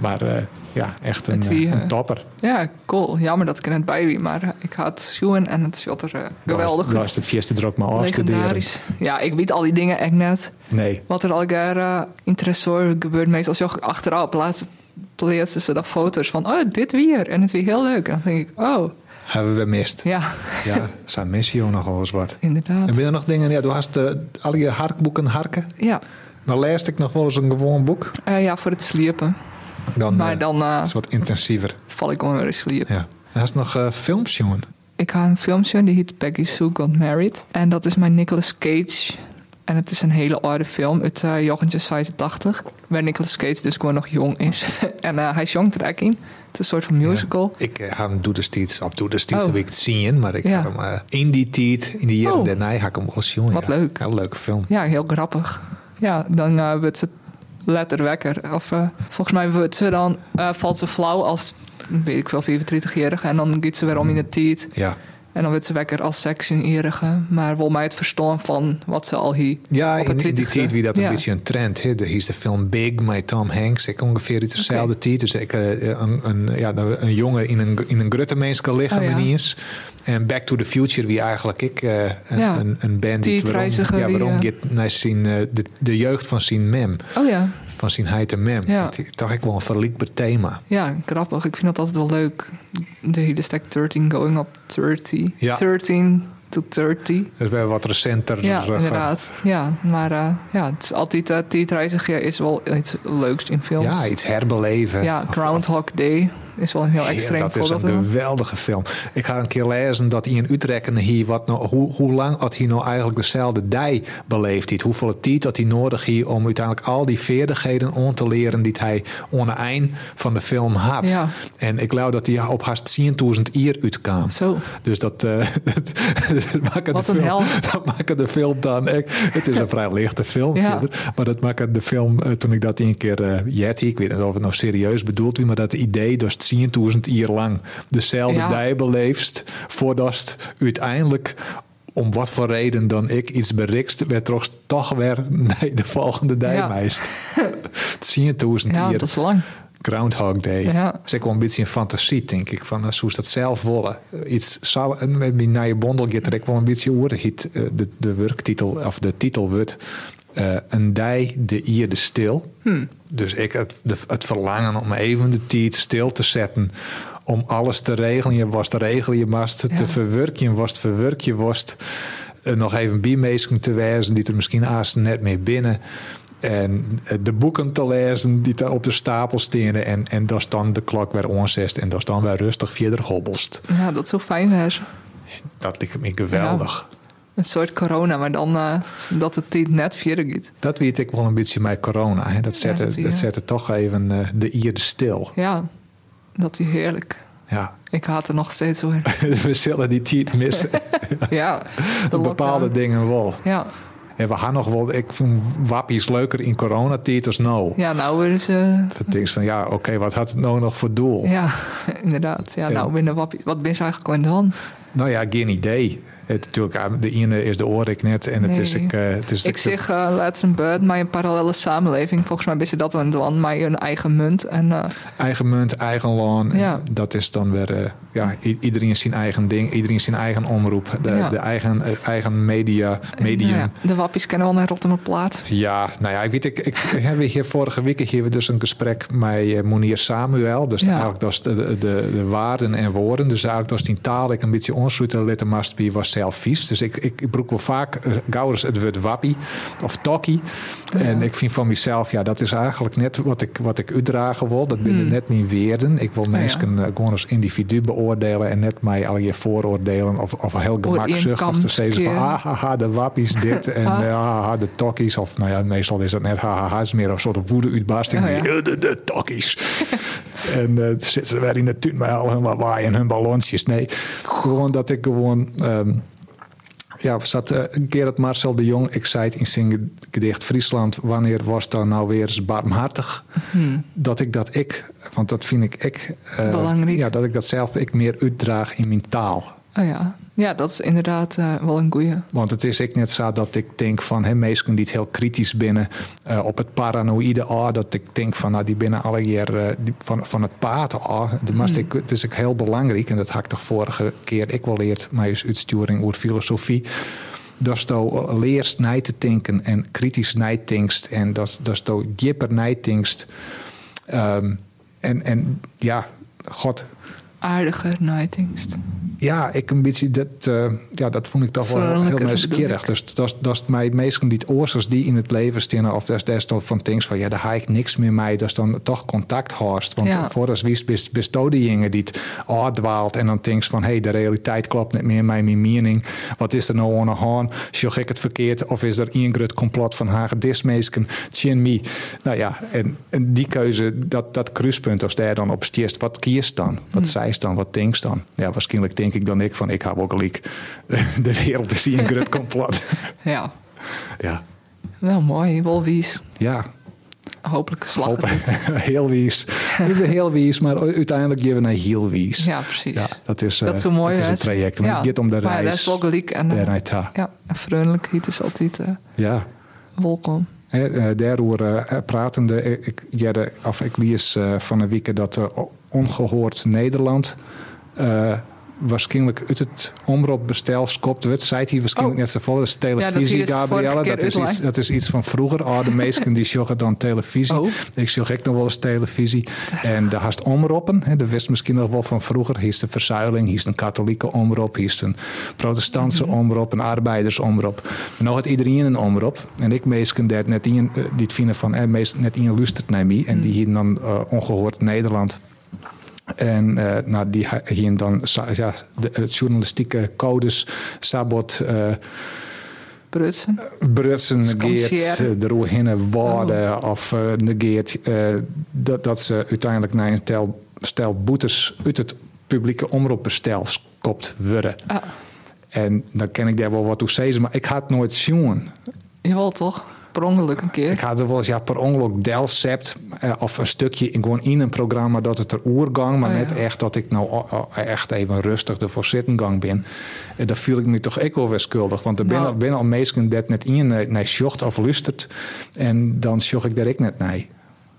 B: maar eh, ja, echt een,
C: Het wie,
B: eh, een
C: eh,
B: topper.
C: ja, cool. Jammer dat ik er net bij wie, maar eh, ik had Sjoen en het shot er eh, geweldig
B: Daar is
C: goed.
B: het eerste druk maar afstuderen.
C: Legendarisch. Ja, ik weet al die dingen echt net.
B: Nee.
C: Wat er al jaar eh in Tresor gebeurt, meestal zo achteraf laat plaatsen ze dan foto's van, oh, dit weer. En het weer heel leuk. En dan denk ik, oh,
B: Hebben we mist.
C: ja,
B: Ja, zijn missie ook nogal eens wat. En
C: inderdaad.
B: ben er nog dingen, ja, du hast eh, al je harkboeken harken.
C: Ja,
B: Maar leest ik nog wel eens een gewoon boek.
C: Eh, ja voor het sliepen.
B: Dan,
C: Maar
B: eh,
C: dan eh,
B: is het wat intensiever.
C: val ik onder de sliep.
B: Ja. En hast nog eh, films, jongen.
C: Ik ga een film zien, die heet Peggy Sue Got Married. En dat is mijn Nicolas Cage. En het is een hele oude film uit eh 1986. Waar Nicolas Cage dus gewoon nog jong is. en eh, hij jongt er ook in. Het is een soort van musical.
B: Ik eh, ga hem doe de steeds, of doe de steeds
C: Oh.
B: heb ik het zien, maar ik
C: Ja.
B: heb hem eh, in die tijd, in de jaren
C: Oh.
B: daarna, ga ik hem wel zien.
C: Wat
B: ja.
C: leuk.
B: Heel leuke film.
C: Ja, heel grappig. Ja, dan eh, wordt ze letter wekker. Of eh, volgens mij wordt ze dan, eh, valt ze flauw als, weet ik wel, 34-jarige. En dan gaat ze weer om in de tijd.
B: Ja,
C: En dan wordt ze wekker als 16-jarige. Maar wil mij het verstaan van wat ze al hier
B: ja
C: op
B: in,
C: het
B: in die
C: 20e.
B: tijd wie dat
C: Ja.
B: een beetje een trend. He. De, hier is de film Big met Tom Hanks. Ik ongeveer uit dezelfde
C: Oké.
B: tijd. Dus ik, eh, een, een, ja, een jongen in een, in een gruttenmeens kan liggen,
C: Oh, ja.
B: maniers. En Back to the Future, wie eigenlijk ik eh, een,
C: Ja.
B: een, een band die waarom,
C: Tijdreiziger
B: ja,
C: die,
B: waarom
C: eh,
B: gaat naar zijn, eh, de, de jeugd van zijn mem,
C: Oh ja,
B: van zijn heid en mem.
C: Ja.
B: Dat is toch echt wel een vergelijkbaar thema.
C: ja, grappig. Ik vind dat altijd wel leuk. De hele stack 13 going op 30.
B: Ja.
C: 13 to 30.
B: Dus we hebben wat recenter.
C: Ja,
B: eh,
C: inderdaad. Ja, maar eh, ja, het is altijd uh, tijdreiziger is wel iets leuks in films.
B: Ja, eh, iets herbeleven.
C: Ja,
B: Of-
C: Groundhog Day is wel een heel
B: Ja,
C: extreem
B: dat is een
C: voorbeeld. van.
B: geweldige film. Ik ga een keer lezen dat in Utrecht hier wat nou, hoe, hoe lang had hij nou eigenlijk dezelfde dij beleefd heeft. Hoeveel tijd had hij nodig hier om uiteindelijk al die veerdigheden on te leren die hij aan het eind van de film had.
C: Ja.
B: En ik geloof dat hij op haast 10.000 uur uitkwam.
C: Zo,
B: Dus dat, eh dat maakt
C: Oh. Wat
B: de
C: een
B: film,
C: hel.
B: dat maakt de film dan echt. Het is een vrij lichte film
C: Ja.
B: verder, maar dat maakt de film eh, toen ik dat een keer eh jet, ik weet niet of het nou serieus bedoeld wie, maar dat idee dat 10.000 jaar lang dezelfde
C: Ja.
B: dij beleefst voordat het uiteindelijk om wat voor reden dan ik iets berikst, werd toch toch weer nee, de volgende dij
C: Ja.
B: meest. 10.000
C: ja,
B: jaar
C: dat is lang.
B: Groundhog Day.
C: Ja.
B: Dat is ook wel een beetje een fantasie, denk ik. Van, hoe ze dat zelf willen. Eh, Iets zal, en met mijn nieuwe bondel gaat er ook wel een beetje over. Heet, eh, de, de werktitel, of de titel wordt... eh, een dij de ierde stil.
C: Hmm.
B: Dus ik het, de- het verlangen om even de tijd stil te zetten... om alles te regelen. Je was te regelen, je was te,
C: Ja.
B: te verwerken. Je was te verwerken, je was... eh, nog even biemeesken te wijzen... die er misschien haast net mee binnen... En eh, de boeken te lezen die daar op de stapel stenen. En, en dat is dan de klok weer onzest. En dat is dan weer rustig verder hobbelst.
C: Ja, dat zou fijn zijn.
B: Dat lijkt me geweldig.
C: Een soort corona, maar dan eh, dat het niet net verder gaat.
B: Dat weet ik wel een beetje bij corona. Hè. Dat zette,
C: dat
B: dat
C: zie je.
B: zette toch even eh, de ierde stil.
C: Ja, dat is heerlijk.
B: Ja.
C: Ik haat er nog steeds hoor.
B: We zullen die tijd missen.
C: ja, de
B: Bepaalde
C: lockdown.
B: dingen wel.
C: Ja,
B: En we gaan nog wel... Ik vind wappies leuker in coronatijd als nou.
C: ja nou worden ze.
B: Dat denk ik van ja, oké, wat had het nou nog voor doel?
C: Ja, inderdaad. Ja, nou, binnen wat, wat ben je eigenlijk aan de hand?
B: Nou ja, geen idee. Het, natuurlijk, ah, de ene is de oorrik net en het
C: Nee.
B: is... Ik, eh, het is
C: Ik zeg eh, laatst een beurt, maar een parallele samenleving. Volgens mij ben je dat aan de hand, maar een eigen munt. En eh,
B: eigen munt, eigen loon. En
C: Ja.
B: Dat is dan weer, eh, ja, i- iedereen zijn eigen ding, iedereen zijn eigen omroep, de,
C: Ja.
B: de eigen, eh, eigen media, medium.
C: nou ja, de wappies kennen wel naar Rotterdamplaat.
B: Ja, nou ja, ik weet, ik, ik heb hier vorige week hier we dus een gesprek met eh, Monier Samuel. Dus
C: Ja.
B: eigenlijk dat is de, de, de, de waarden en woorden. Dus eigenlijk dat is die taal ik een beetje onsluiten letter must be was zelf vies. Dus ik, ik, ik broek wel vaak eh, gouders het woord wappie of tokkie. En ik vind van mezelf, ja, dat is eigenlijk net wat ik, wat ik uitdragen wil. Dat binnen net niet weerden. Ik wil mensen eh, gewoon als individu beoordelen en net mij al je vooroordelen of, of heel gemakzuchtig te zeggen van
C: Ooreenkamp, ja.
B: ah, haha, de wappies dit en eh, haha, de tokkies. Of nou ja, meestal is dat net haha, het is meer een soort woede-uitbarsting.
C: Oh ja.
B: Eh, de, de tokkies. en eh zitten ze weer in de tuin met al hun lawaai en hun ballonsjes. Nee, gewoon dat ik gewoon... ehm, ja, we zat eh, Gerard Marcel de Jong, ik zei het in zijn gedicht Friesland, wanneer was dan nou weer eens barmhartig?
C: Hmm.
B: Dat ik dat ik, want dat vind ik ik... eh,
C: Belangrijk.
B: Ja, dat ik dat zelf ik meer uitdraag in mijn taal.
C: Oh ja. ja, dat is inderdaad eh, wel een goeie.
B: Want het is ik net zo dat ik denk van hè, mensen die het heel kritisch binnen eh, op het paranoïde ah, dat ik denk van nou die binnen alle keer eh, die- van, van het paard ah, de mast ik, het is ook heel belangrijk en dat had ik toch vorige keer ik wel leerd mij is uitsturing over filosofie dat je leerst na te denken en kritisch na te denkst en dat dat je dieper na te denkst. Ehm, En, en ja, god.
C: Aardiger Nightingst.
B: Ja, ik een beetje dat, eh, ja, dat vond ik toch wel heel
C: Vrolijker
B: nieuwsgierig.
C: bedoel
B: Dus dat is- dat is mij meestal die oorzaak die in het leven stinnen. Of dat is desnoods van things van ja, daar ga ik niks meer mee. Dus dan toch contact hoort. Want
C: Ja.
B: voor als wies best- bestodingen die het dwaalt en dan things van hé, hey, de realiteit klopt niet meer met mijn mening. Wat is er nou aan de hand? Sjoeg ik het verkeerd? Of is er een groot complot van hagedismeesken? Chin me. Nou ja, en, en die keuze, dat, dat kruispunt, als daar dan op stiest, wat kiest dan? Wat zei ze dan? Wat denkt ze dan? Ja, waarschijnlijk denk ik dan ik van ik hou ook gelijk. De wereld is hier een groot complot.
C: Ja,
B: ja.
C: wel mooi. Wel wies.
B: Ja,
C: Hopelijk slag
B: Hoop-
C: het niet.
B: heel wies. Ik ben heel wies, maar u- uiteindelijk geven we naar heel wies.
C: Ja, precies.
B: Ja, dat is, eh,
C: dat is zo mooi.
B: dat is
C: hè?
B: een traject. Maar het gaat om de
C: Maar
B: reis.
C: dat is wel gelijk. En, eh,
B: Daar naar ta.
C: ja, en vriendelijkheid is altijd eh,
B: Ja.
C: welkom.
B: Hè, eh, Daarover eh, pratende, eh, ik, jerde, of ik lees eh, van een week dat eh, ongehoord Nederland eh, waarschijnlijk uit het omroepbestel skopt wordt. Zijt hier waarschijnlijk
C: Oh.
B: net zo vol. Dat is televisie,
C: hier het dus vorige
B: Gabrielle.
C: keer
B: Dat is, iets,
C: uitlegt.
B: dat is iets van vroeger. Oh, de meesten die joggen dan televisie.
C: Oh.
B: Ik zag ook nog wel eens televisie. En daar haast omroepen. Hè. Dat wist misschien nog wel van vroeger. Hier is de verzuiling, hier is een katholieke omroep, hier is een protestantse omroep, een arbeidersomroep. Maar nog had iedereen een omroep. En ik meestal dat net in, eh, die het vinden van, eh, meest, net in luistert naar mij. En die hier dan eh, ongehoord Nederland. En eh, nou, die ha- hier dan sa- ja, de, het journalistieke codes, sabot, eh
C: Brutsen.
B: Brutsen negeert,
C: Scanseren.
B: eh, de Rohingya waarden of eh, negeert eh, dat, dat ze uiteindelijk naar een tel, stel boetes uit het publieke omroepbestel kopt worden.
C: Ah.
B: En dan ken ik daar wel wat toe zeggen, maar ik had het nooit zien.
C: Jawel toch? Per ongeluk een keer.
B: Ik had er wel eens ja, per ongeluk delcept eh, of een stukje in, gewoon in een programma dat het er oergang, maar
C: Oh, ja.
B: net echt dat ik nou o- o- echt even rustig de voorzittengang ben. En daar viel ik me toch ook wel weer schuldig, want er ben
C: Nou.
B: al, ben al meestal dat net in eh, naar sjocht of lustert en dan sjocht ik daar ik net naar.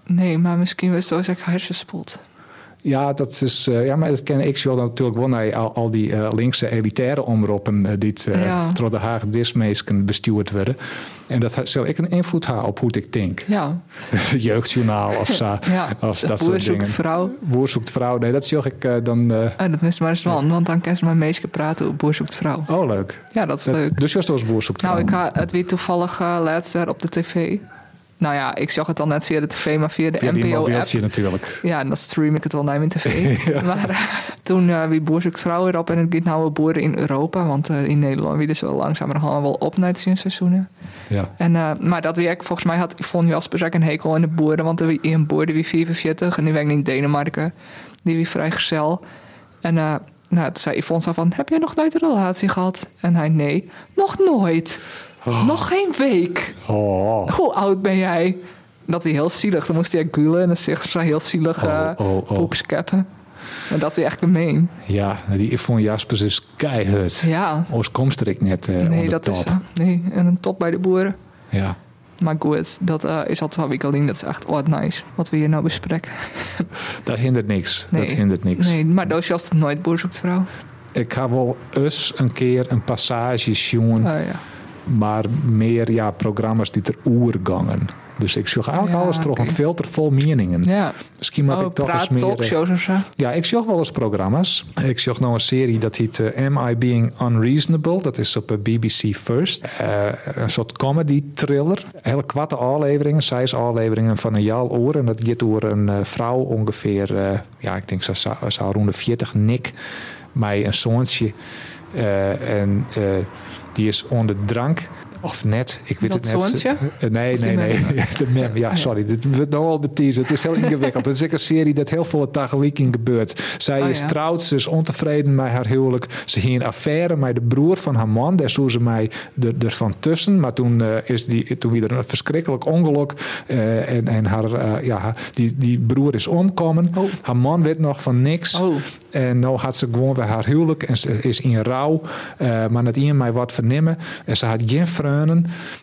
C: Nee, maar misschien was het ook echt hersenspot.
B: Ja, dat is, eh, ja, maar dat ken ik zo dan natuurlijk wel naar al, al die eh, linkse elitaire omroepen eh, die eh
C: Ja.
B: door de Haag Dismeesken bestuurd worden. En dat ha- zal ik een invloed hebben op hoe ik denk.
C: Ja,
B: jeugdjournaal of zo.
C: ja.
B: Of
C: De
B: dat
C: boer
B: soort
C: zoekt
B: dingen.
C: vrouw.
B: Boer zoekt vrouw. Nee, dat zag ik eh, dan... eh,
C: Ah, dat mis maar eens wel, want dan kan ze maar meisje praten over boer zoekt vrouw.
B: oh, leuk.
C: Ja, dat is
B: Dat-
C: leuk.
B: Dus je was als boer zoekt
C: Nou,
B: vrouw.
C: ik had het weer toevallig eh, laatst weer op de tv. Nou ja, ik zag het dan net via de tv, maar via de
B: Via die
C: NPO-app.
B: mobieltje natuurlijk.
C: Ja, en dan stream ik het wel naar mijn tv. Maar eh, toen eh wie boer zoekt vrouw erop en het gaat nou weer boeren in Europa. Want eh, in Nederland wie dus wel langzamerhand wel op naar het seizoenen.
B: Ja.
C: En, eh, maar dat werk, volgens mij had Yvonne Jaspers ook een hekel aan de boeren. Want er wie- een boer die wie 44 en die werkte in Denemarken. Die wie vrijgezel. En eh, nou, toen zei Yvonne zo van, heb je nog nooit een relatie gehad? En hij, nee, nog nooit. Nog geen week.
B: Oh,
C: Hoe oud ben jij? Dat hij heel zielig. Dan moest hij echt gulen en dan zegt ze heel zielig
B: Oh,
C: eh
B: oh, oh.
C: poepskeppen. En dat is echt gemeen.
B: ja. nou, Die Yvonne Jaspers is keihard.
C: Ja,
B: Oost komst er ik net eh
C: nee,
B: onder
C: dat
B: top.
C: is nee, en een top bij de boeren.
B: Ja.
C: Maar goed, dat eh, is altijd wel wikkeling. Dat is echt wat nice wat we hier nou bespreken.
B: Dat hindert niks.
C: Nee.
B: Dat hindert niks.
C: Nee, maar doosje als het nooit boer zoekt vrouw.
B: Ik ga wel eens een keer een passage zien,
C: Oh ja.
B: maar meer ja, programma's die ter oergangen. Dus ik zoek eigenlijk
C: Ja,
B: alles toch
C: oké.
B: een filter vol meningen.
C: ja.
B: Misschien moet
C: oh,
B: ik toch eens
C: praat
B: meer... eh,
C: talkshows of zo.
B: Ja, ik zag wel eens programma's. Ik zag nou een serie dat heet eh, Am I Being Unreasonable? Dat is op eh, BBC First. Eh, een soort comedy thriller. Heel kwatte afleveringen, zes afleveringen van een jaar oor. En dat gaat door een eh, vrouw ongeveer, eh, ja, ik denk ze zou ze zou rond de 40 nik, mij een zoontje. Eh, en eh, die is onder drank. Of net, ik weet
C: Dat
B: het net.
C: zoontje?
B: Eh, nee,
C: Of
B: nee,
C: die
B: nee.
C: mem?
B: De mem, ja, sorry. Dit wordt nou al beteased. Het is heel ingewikkeld. Het is ook een serie dat heel veel in gebeurt. Zij
C: Oh,
B: is
C: ja.
B: trouwd, ze is ontevreden met haar huwelijk. Ze ging een affaire met de broer van haar man. Daar zoe ze mij er, ervan tussen. Maar toen, eh, is die, toen weer een verschrikkelijk ongeluk. eh, en en haar, eh, ja, haar- die, die broer is omkomen.
C: Oh.
B: Haar man weet nog van niks.
C: Oh.
B: En nou had ze gewoon weer haar huwelijk en ze is in rouw. eh, maar net in mij wat vernemen. En ze had geen vreunen.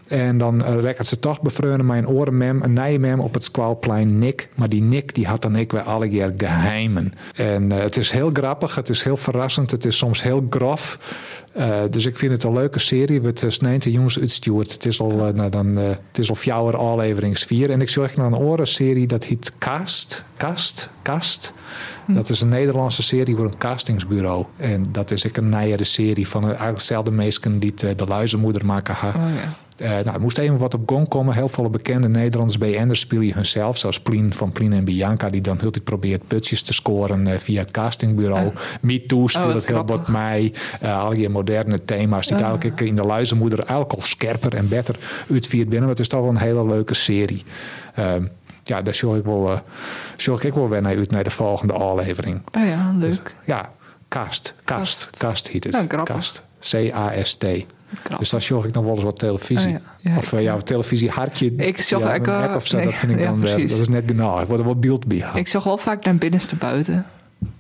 B: En dan uh, rekkert ze toch bevreunen mijn orenmem, een nijmem op het squalplein Nick. Maar die Nick die had dan ik weer alle keer geheimen. En eh, het is heel grappig, het is heel verrassend, het is soms heel grof. Eh, dus ik vind het een leuke serie. Wordt uh, snijnt de jongens uitstuurd. Het is al, eh, nou, dan, eh, het is al fjouwer afleverings 4. En ik zorg naar een andere serie dat heet Cast. Cast? Cast?
C: Hm.
B: Dat is een Nederlandse serie voor een castingsbureau. En dat is ik een nijere serie van eh, eigenlijk dezelfde mensen die het, eh, de luizenmoeder maken. ha.
C: Oh, ja.
B: Eh, nou, er moest even wat op gong komen. Heel veel bekende Nederlandse BN'ers spelen hunzelf. Zoals Plien van Plien en Bianca, die dan heel die probeert putjes te scoren eh, via het castingbureau. Me Too speelt
C: Ah. Oh, wat
B: het heel wat
C: grappig. Ah.
B: mij. Eh al die moderne thema's. Die het eigenlijk in de luizenmoeder eigenlijk al scherper en beter uitviert binnen. Maar het is toch wel een hele leuke serie. Ehm, ja, daar zorg ik wel, eh, zorg ik wel weer naar uit naar de volgende aflevering.
C: Oh ja, leuk.
B: Ja, cast. Cast.
C: Cast.
B: Cast heet het.
C: Nou, grappig.
B: Cast. C-A-S-T.
C: Grappig.
B: Dus daar zorg ik nog wel eens wat televisie.
C: Ah, ja. Ja,
B: of eh, ja, televisie hartje.
C: Ik zorg
B: ja,
C: ik,
B: een
C: eh,
B: app of zo,
C: nee,
B: dat vind ik
C: ja,
B: dan weer-
C: precies.
B: Dat is net genoeg. Ik word er wel beeld bij.
C: Ik zag wel vaak naar binnenste buiten.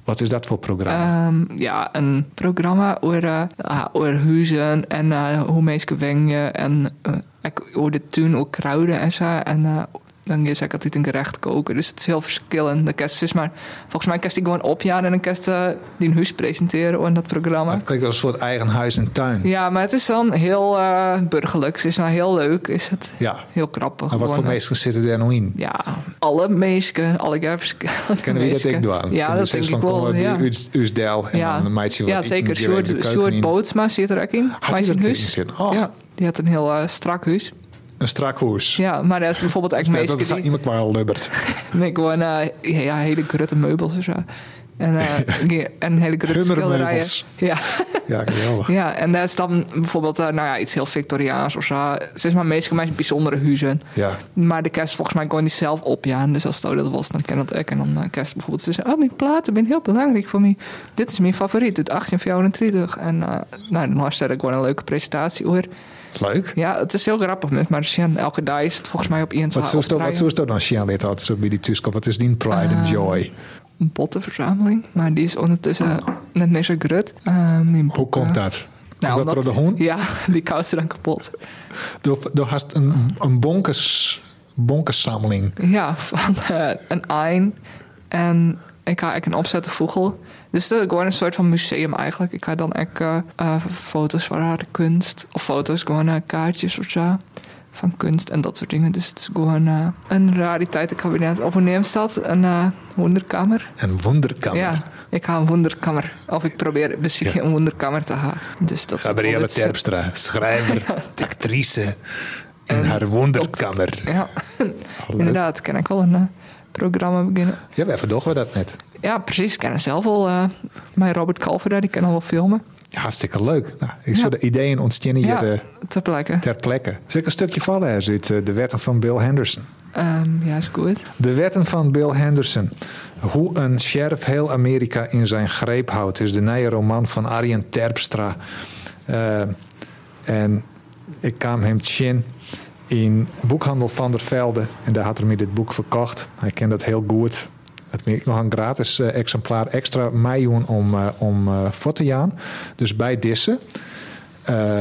B: Wat is dat voor programma?
C: Ehm, ja, een programma over, eh, ah, over huizen en eh, hoe mensen wengen. En eh, ik hoor de tuin ook kruiden en zo. En eh, dan is ik altijd een gerecht koken. Dus het is heel verschillend. De kerst is maar, volgens mij kerst ik gewoon opjaar en dan kerst eh, die een huis presenteren in dat programma.
B: het klinkt als een soort eigen huis en tuin.
C: Ja, maar het is dan heel eh burgerlijk. Het is maar heel leuk. Is het
B: Ja.
C: heel grappig.
B: Maar wat
C: Gewoon,
B: voor
C: eh,
B: mensen zitten er nou in?
C: Ja, alle meesken, alle verschillende
B: Kennen we dat
C: meesken.
B: ik doen?
C: Ja, dat denk ik wel. Ja.
B: Uusdel en
C: Ja,
B: dan meid je wat
C: ja
B: eten,
C: zeker.
B: die weer
C: Sjoerd,
B: de keuken
C: Sjoerd
B: in.
C: Bootsma zit er ook in.
B: die
C: Maar
B: er
C: zijn
B: ook
C: huis.
B: in zitten? Och.
C: Ja, die had een heel eh, strak huis.
B: Een strak hoes.
C: Ja, maar dat is bijvoorbeeld echt
B: Stel Dus dat
C: meestal
B: is
C: die...
B: iemand qua lubbert.
C: Nee, gewoon eh, ja, ja, hele grutte meubels en zo. En, eh, die- en hele grutte schilderijen.
B: Hummermeubels.
C: Ja.
B: Ja, geweldig.
C: ja, en daar is dan bijvoorbeeld eh, nou ja, iets heel Victoriaans of zo. Ze is maar meestal mijn bijzondere huizen.
B: Ja.
C: Maar de kerst volgens mij kon die zelf op, ja. En dus als het dat was, dan ken dat ook. En dan eh, kerst bijvoorbeeld ze zei, oh, mijn platen zijn heel belangrijk voor mij. Dit is mijn favoriet, het 1834. En eh, nou, dan was er ook gewoon een leuke presentatie hoor.
B: Leuk.
C: Ja, het is heel grappig, met maar ze zien elke dag is het volgens mij op één
B: Wat zoest dat- Wat
C: een
B: zoest dat dan Sjaan dit had zo bij die tussen? Wat is die pride
C: Ah.
B: and joy?
C: bottenverzameling. Maar die is ondertussen net meer zo grut. Eh, mijn
B: Hoe
C: boeken.
B: komt dat? Nou, dat
C: omdat-
B: er op de hond?
C: Ja, die koudt ze dan kapot.
B: Door, door hast een, een bonkers, bonkerszameling.
C: Ja, van eh, een ein. En ik ga ook een opzette vogel. Dus dat is gewoon een soort van museum eigenlijk. Ik ga dan ook eh, eh, foto's van haar kunst. Of foto's, gewoon eh, kaartjes of zo. Van kunst en dat soort dingen. Dus het is gewoon eh, een rariteitenkabinet. Of hoe neemt dat? Een eh, wonderkamer.
B: Een wonderkamer.
C: Ja, ik ga een wonderkamer. Of ik probeer misschien
B: Ja.
C: een wonderkamer te gaan. Dus dat is ook wel
B: Gabrielle
C: iets-
B: Terpstra, schrijver, actrice in haar wonderkamer.
C: Ja, inderdaad. Kan ik wel een eh, programma beginnen.
B: Ja, wij verdogen we dat net.
C: Ja, precies. Ik ken zelf wel. eh mijn Robert Calver, daar, die kan al wel filmen.
B: Hartstikke leuk. Nou, ik zou
C: Ja.
B: de ideeën ontstaan hier
C: Ja,
B: eh,
C: ter plekke.
B: ter plekke. Zal ik een stukje vallen er zit eh, de wetten van Bill Henderson.
C: Ehm, ja, is goed.
B: De wetten van Bill Henderson. Hoe een sheriff heel Amerika in zijn greep houdt, is de nieuwe roman van Arjen Terpstra. Eh, en ik kwam hem chin in boekhandel Van der Velde. En daar had hij me dit boek verkocht. Hij kent dat heel goed. Het ik nog een gratis eh, exemplaar extra miljoen om, eh, om eh, voor te gaan. Dus bij Dissen. eh,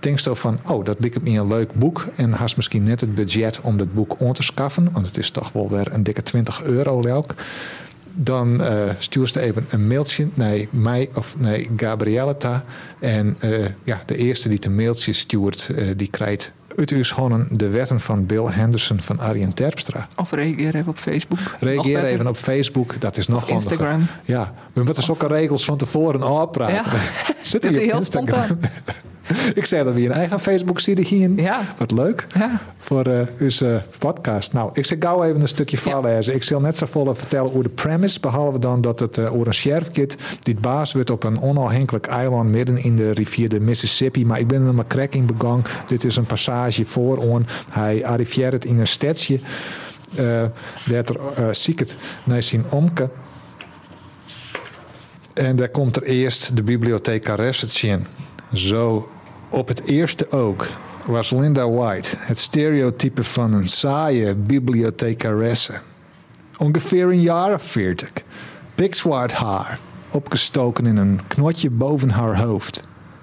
B: denk zo van, oh, dat lijkt me een leuk boek. En haast misschien net het budget om dat boek on te schaffen. Want het is toch wel weer een dikke 20 euro elk. Dan eh stuur ze even een mailtje naar mij of naar Gabrielleta. En eh, ja, de eerste die het een mailtje stuurt, eh, die krijgt uit uw honnen de wetten van Bill Henderson van Arjen Terpstra.
C: Of reageer even op Facebook. Nog
B: Reageer
C: beter.
B: even op Facebook, dat is nog
C: Of
B: handiger.
C: Instagram.
B: Ja, we moeten zulke regels van tevoren afpraten.
C: Ja.
B: Zit
C: Zit
B: hier
C: hij
B: op
C: heel
B: Instagram? Ik zei dat we een eigen Facebook-site hier.
C: Ja.
B: Wat leuk.
C: Ja.
B: Voor eh onze podcast. Nou, ik zeg gauw even een stukje voorlezen. Ik zal net zo vol vertellen over de premise. Behalve dan dat het eh over een sheriff gaat. Die het baas wordt op een onafhankelijk eiland midden in de rivier de Mississippi. Maar ik ben er maar krek in begang. Dit is een passage voor on. Hij arriveert in een stadje. eh dat er eh zieket naar zijn omke. En daar komt er eerst de bibliothecaresse in. Zo op het eerste ook was Linda White het stereotype van een saaie bibliothecaresse. Ongeveer een jaar of veertig. Pikzwart haar, opgestoken in een knotje boven haar hoofd.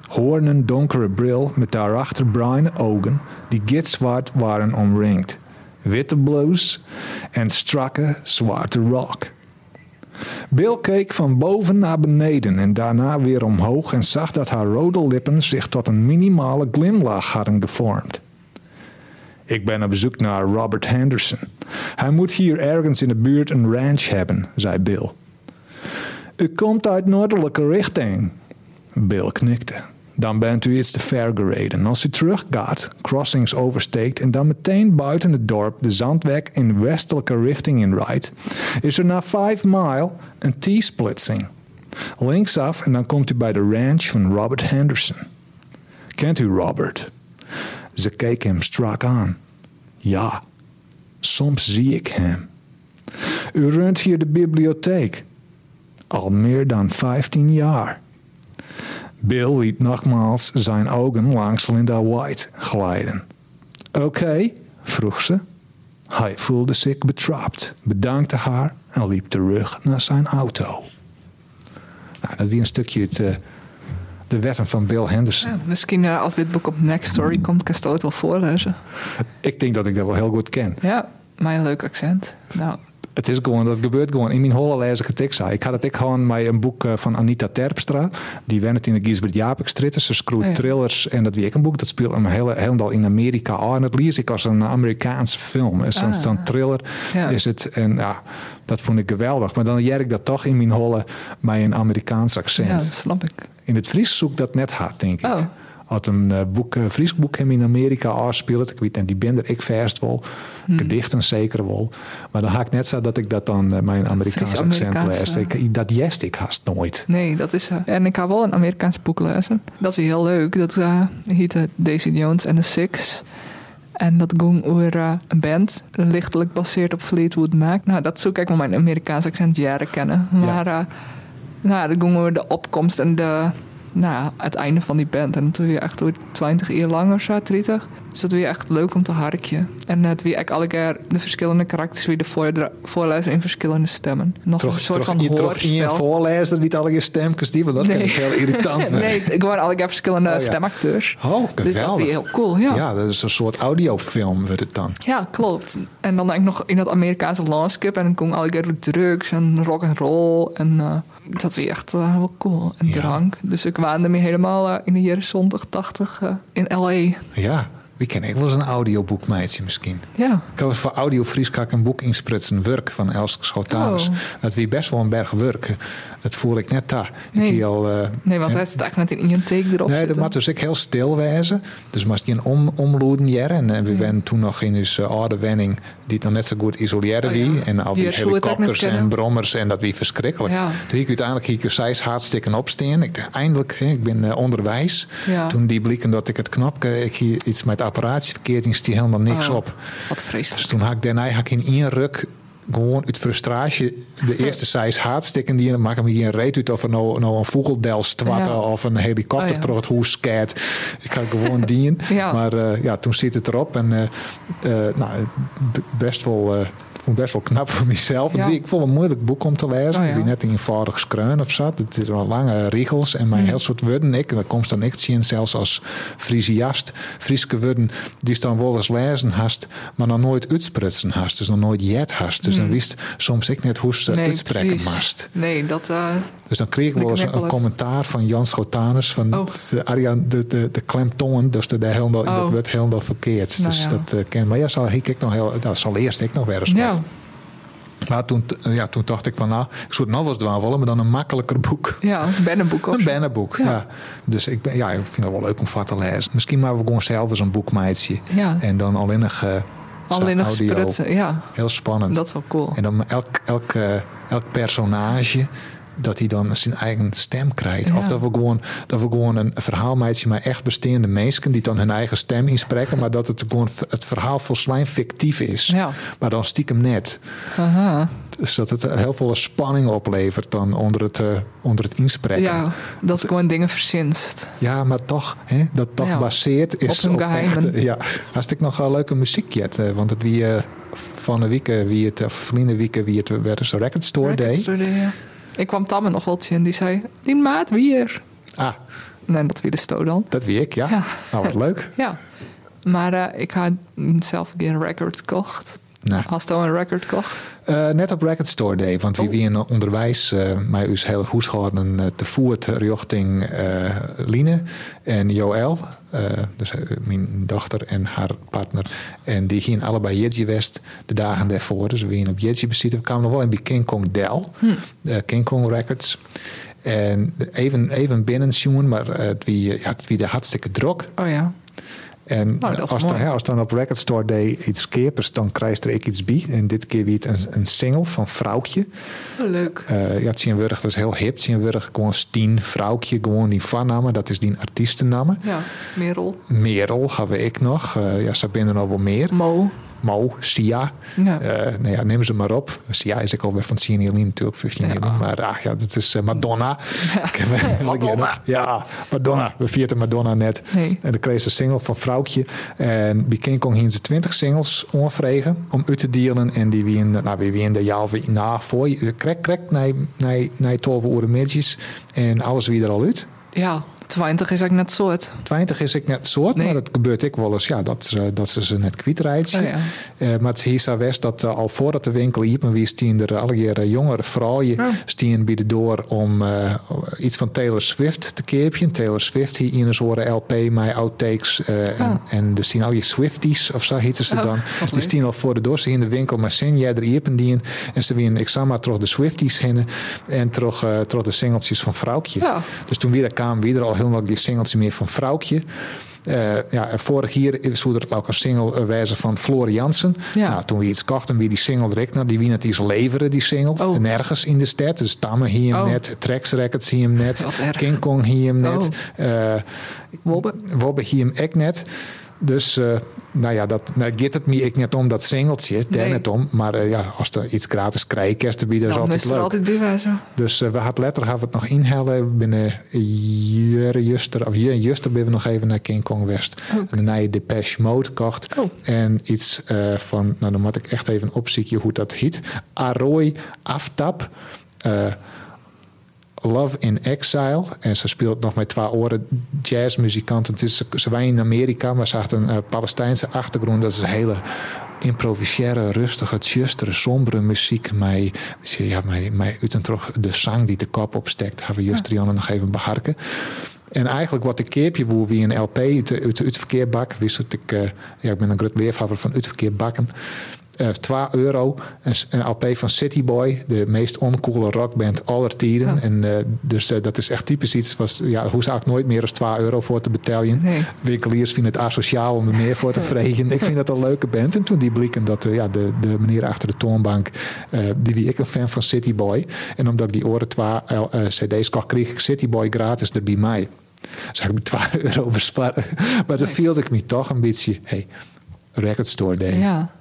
B: Hoornen donkere bril met daarachter bruine ogen die gitzwart waren omringd. Witte blouse en strakke zwarte rok. Bill keek van boven naar beneden en daarna weer omhoog en zag dat haar rode lippen zich tot een minimale glimlach hadden gevormd. Ik ben op zoek naar Robert Henderson. Hij moet hier ergens in de buurt een ranch hebben, zei Bill. U komt uit noordelijke richting. Bill knikte. Dan bent u iets te ver gereden. Als u teruggaat, crossings oversteekt en dan meteen buiten het dorp de zandweg in westelijke richting inrijdt, is er na 5 mile een T-splitsing. Linksaf en dan komt u bij de ranch van Robert Henderson. Kent u Robert? Ze keek hem strak aan. Ja, soms zie ik hem. U runt hier de bibliotheek. Al meer dan 15 jaar. Bill liet nogmaals zijn ogen langs Linda White glijden. Oké, vroeg ze. Hij voelde zich betrapt, bedankte haar en liep terug naar zijn auto. Nou, dat weer een stukje het, eh, de wetten van Bill Henderson.
C: Ja, misschien eh, als dit boek op Next Story komt, kan ik het wel voorlezen.
B: Ik denk dat ik dat wel heel goed ken.
C: Ja, mijn leuk accent. Nou,
B: Het is gewoon, dat gebeurt gewoon. In mijn holle lees ik het ik Ik had het ik gewoon met een boek eh, van Anita Terpstra. Die wen het in de Giesbert Japik stritten. Ze schroeit
C: Oh ja.
B: thrillers en dat wie ik een boek. Dat speelt hem hele- helemaal in Amerika. Oh, en dat lees ik als een Amerikaanse film. Is dan
C: Ah.
B: zo'n thriller
C: Ja.
B: is het. En ja, dat vond ik geweldig. Maar dan jer ik dat toch in mijn holle met een Amerikaans accent.
C: ja, dat snap ik.
B: In het Fries zoek dat net hard, denk ik.
C: Oh.
B: Had een eh, boek, eh, Fries boek hem in Amerika afspeeld. Ik weet niet, die ben er ik verst wel.
C: Hmm.
B: Gedichten zeker wel. Maar dan haak ik net zo dat ik dat dan eh, mijn Amerikaans accent
C: Amerikaans,
B: lees.
C: ja.
B: Ik- eh, Dat jest ik haast nooit.
C: Nee, dat is. eh, en ik ga wel een Amerikaans boek lezen. Dat is heel leuk. Dat eh heette Daisy Jones and the Six. En dat ging over eh, een band, lichtelijk gebaseerd op Fleetwood Mac. Nou, dat zoek ik wel mijn Amerikaans accent jaren kennen. Maar eh, nou, dat ging over de opkomst en de, nou, het einde van die band. En toen weer echt door 20 jaar lang of zo, 30. Dus dat weer echt leuk om te harkje. En eh, het weer echt alle keer de verschillende karakters weer de voordra- voorlezen in verschillende stemmen. Nog een soort van
B: in,
C: hoorspel.
B: toch in je voorlezer niet alle je stemkes die, want dat
C: Nee.
B: vind ik heel irritant.
C: Nee, gewoon alle keer verschillende
B: Oh, ja.
C: stemacteurs.
B: Oh,
C: Dus dat
B: geweldig.
C: is heel cool, ja. ja.
B: Ja, dat is een soort audiofilm wordt het dan.
C: klopt. En dan eigenlijk nog in dat Amerikaanse landschap. En dan komen alle keer drugs en rock and roll. En eh, dat is echt eh, wel cool. En
B: Ja.
C: drank. Dus ik waande me helemaal eh, in de jaren 70, 80 eh, in L.A.
B: Ja, wie ken ik wel eens een audioboekmeidje misschien.
C: Ja,
B: Ik heb voor Audio Fries kan ik een boek insprutsen, Work van Elske Schotanus.
C: Oh.
B: Dat wie best wel een berg werken. Dat voel ik net daar.
C: Nee.
B: Ik zie al, eh,
C: nee, want
B: en-
C: hij zit eigenlijk net in één take erop
B: Nee, dat
C: zitten.
B: moet dus ik heel stil wezen. Dus moest je een om, omloeden jaren. En, eh, we waren toen nog in onze oude wenning, die het nog net zo goed isoleerde
C: Oh ja.
B: wie. En al die,
C: Die zou het ook
B: helikopters
C: net
B: en
C: kennen.
B: brommers en dat wie verschrikkelijk.
C: Ja.
B: Toen ik uiteindelijk hier zeis hartstikke opsteen. Ik dacht, eindelijk, hè, ik ben eh, onderwijs.
C: Ja.
B: Toen die blikken dat ik het knapje, ik hier iets met apparaatje verkeerd, en stie helemaal niks
C: Oh,
B: op.
C: Wat
B: Dus
C: vreselijk.
B: toen had ik daarna had ik in één ruk gewoon uit frustratie de eerste size haatstikken die en dan maak ik me hier een reet uit of er nou, nou een vogeldel stwatten
C: Ja.
B: of een helikopter
C: Oh ja.
B: door het hoes keert. Ik had gewoon dien.
C: Ja.
B: Maar eh, ja, toen zit het erop en eh, eh, nou, b- best wel. eh, ik vond het best wel knap voor mezelf.
C: Ja.
B: Ik vond het een moeilijk boek om te lezen.
C: Oh
B: die
C: ja.
B: net in eenvoudig skreun of zat. Het is wel lange riegels en
C: Mhm.
B: mijn heel soort woorden. Ik, en dat komt dan echt zien, zelfs als Friesiast. Frieske woorden die staan wel eens lezen hast, maar dan nooit uitsprutsen hast. Dus dan nooit jet hast. Dus dan wist soms ik net hoe ze
C: Mhm. Nee,
B: uitspreken
C: precies.
B: mast.
C: Nee, dat... eh,
B: Dus dan kreeg ik
C: Dat
B: wel eens
C: knik
B: een,
C: wel eens.
B: commentaar van Jan Schotanus van
C: Oh.
B: de, Arjan, de, de, de klemtongen, dus de, de helemaal, dat
C: Oh.
B: werd helemaal verkeerd.
C: Nou
B: dus
C: ja.
B: dat eh, ken. Maar ja, zal ik nog heel, dat zal eerst ik nog weer eens wat.
C: ja,
B: Maar toen, t- ja, toen dacht ik van, nou, ik zou het nog wel eens dwaan willen, maar dan een makkelijker boek.
C: ja, bennenboek of
B: Een
C: zo.
B: bannenboek, ja.
C: Ja.
B: Dus ik, ben, ja, ik vind het wel leuk om wat te lezen. Misschien maken we gewoon zelf eens een boekmeidje.
C: Ja.
B: En dan alleen nog, eh,
C: Alleen nog
B: audio.
C: sprutsen, ja.
B: Heel spannend.
C: Dat is wel cool.
B: En dan elk, elk, eh, elk personage dat hij dan zijn eigen stem krijgt.
C: Ja.
B: Of dat we gewoon, dat we gewoon een verhaalmeidje maar echt bestaande mensen... die dan hun eigen stem inspreken... maar dat het, gewoon, het verhaal volslijn fictief is.
C: Ja.
B: Maar dan stiekem net.
C: Aha.
B: Dus dat het heel veel spanning oplevert dan onder het, eh, onder het inspreken.
C: Ja, dat ik gewoon dingen verzinst.
B: Ja, maar toch, hè, dat toch
C: Ja.
B: baseert is
C: Op een
B: echt,
C: geheimen.
B: eh, ja, als ik nog een leuke muziek had, eh, want het wie eh, van de wieken, wie het eh, van de wieken, wie het eh, werd eens een record store
C: Records
B: day.
C: door de, ja. Ik kwam Tamme nog wel in, die zei: Die maat weer.
B: Ah,
C: Nee, dat weer de sto dan.
B: dat wie ik, ja.
C: Ja.
B: Nou, wat leuk.
C: Ja. Maar eh, ik had zelf een keer een record gekocht.
B: Nou.
C: Als je een record kocht.
B: Eh, net op Record Store Day, want wie wie in onderwijs eh mij uw hele huishouden eh, te voert richting eh, Line en Joël, eh, dus eh, mijn dochter en haar partner. En die gingen allebei Jedji West de dagen daarvoor. Dus we gingen op Jedji bezitten. We kwamen nog wel in bij King Kong Dell, eh, King Kong Records. En even, even binnen zien, maar eh, het wie, ja, het wie de hartstikke drok.
C: Oh ja.
B: En
C: Nou, dat is
B: als, dan,
C: mooi.
B: hè, als dan op Record Store Day iets keepers, dan krijg er ik iets bij. En dit keer weer een, een single van Vrouwtje.
C: Oh, leuk.
B: Eh ja, Tjenwurg, dat is heel hip. Tjenwurg, gewoon Stien, Vrouwtje, gewoon die vanname. Dat is die artiestennamen.
C: Ja, Merel.
B: Merel hebben we ik nog. Eh, ja, ze binnen nog wel meer.
C: Mo.
B: Mo, Sia.
C: Ja.
B: Eh, nou ja, neem ze maar op. Sia is ik alweer van Senior Lean natuurlijk, 15
C: Ja.
B: jaar. Maar ah, ja, dat is eh, Madonna. Ik heb-
C: Madonna.
B: Ja, Madonna. We vierden Madonna net.
C: Nee.
B: En dan kreeg ze een single van Vrouwtje. En bij King Kong gingen ze 20 singles onvregen om uit te dealen. En die wien, nou, wie wien de jaar weer na voor je. Krek, krek, naar naar- naar 12 uur middags. En alles wie er al uit.
C: Ja, 20 is eigenlijk net soort.
B: 20 is ik net soort,
C: Nee.
B: maar dat gebeurt ik wel eens. Ja, dat, ze- dat ze ze net kwijtrijdt.
C: Oh ja.
B: Eh, maar het is west dat eh, al voordat de winkel liep, en wie stien er allerlei jongere vrouwen
C: Ja.
B: stien bij de door om eh, iets van Taylor Swift te keerpje. Taylor Swift hier in een soort LP, My Outtakes. eh, en, en er zien al je Swifties of zo heten ze
C: Oh,
B: dan.
C: wat
B: Die
C: leuk.
B: stien al voor de door, ze in de winkel, maar zin jij er iepen die in. En ze wien ik zag maar terug de Swifties hinnen en terug, eh, terug de singeltjes van Vrouwtje.
C: Ja.
B: Dus toen weer kwam weer al heel lang die singeltje meer van Vrouwtje. Eh, ja, en vorig jaar zou er ook een single eh, wijzen van Florian Jansen.
C: Ja.
B: Nou, toen we iets kochten, wie die single direct naar die wie het iets leveren, die single.
C: Oh.
B: Nergens in de stad. Dus Tamme hier hem
C: Oh.
B: net, Trax Records hier hem net,
C: Wat erg.
B: King Kong hier hem net,
C: Oh.
B: eh,
C: Wobbe.
B: Wobbe hier hem ook net. Dus, eh, nou ja, dat nou, gaat het me ik net om dat singeltje, daar
C: Nee.
B: net om. Maar eh, ja, als er iets gratis krijg, kerst te bieden, is
C: Dan
B: altijd
C: is
B: leuk.
C: er altijd bewijzen.
B: Dus eh, we hadden letter hadden we het nog inhellen. Binnen jaren juster, of jaren juster ben we nog even naar King Kong West. En daarna je Depeche Mode kocht.
C: Oh.
B: En iets eh, van, nou dan moet ik echt even opzieken hoe dat heet. Aroy Aftap. eh, Love in Exile. En ze speelt nog met twee oren jazzmuzikanten. Het is, ze- ze waren in Amerika, maar ze had een eh, Palestijnse achtergrond. Dat is een hele improviseren, rustige, tjustere, sombere muziek. Mij, ja, mij, mij uit en terug de zang die de kop opstekt, hebben we juist Rianne nog even beharken. En eigenlijk wat ik keerpje woe wie een LP uit, de- uit, de- uit het verkeerbak. Wist dat ik, eh, ja, ik ben een groot liefhebber van uit verkeerbakken. Eh 2 euro, een, s- een LP van City Boy, de meest oncoole rockband aller tijden. En, eh, dus eh, dat is echt typisch iets, was, ja, hoe zou ik nooit meer dan 2 euro voor te betalen.
C: Nee.
B: Winkeliers vinden het asociaal om er meer voor te vregen. Ik vind dat een leuke band. En toen die blikken dat eh, ja, de, de meneer achter de toonbank, eh, die wie ik een fan van City Boy. En omdat ik die oren twee eh, eh, cd's kocht, kreeg ik City Boy gratis er bij mij. Dus heb ik 12 euro besparen. Maar dan
C: Nice.
B: viel ik me toch een beetje, hey, record store day.
C: Ja.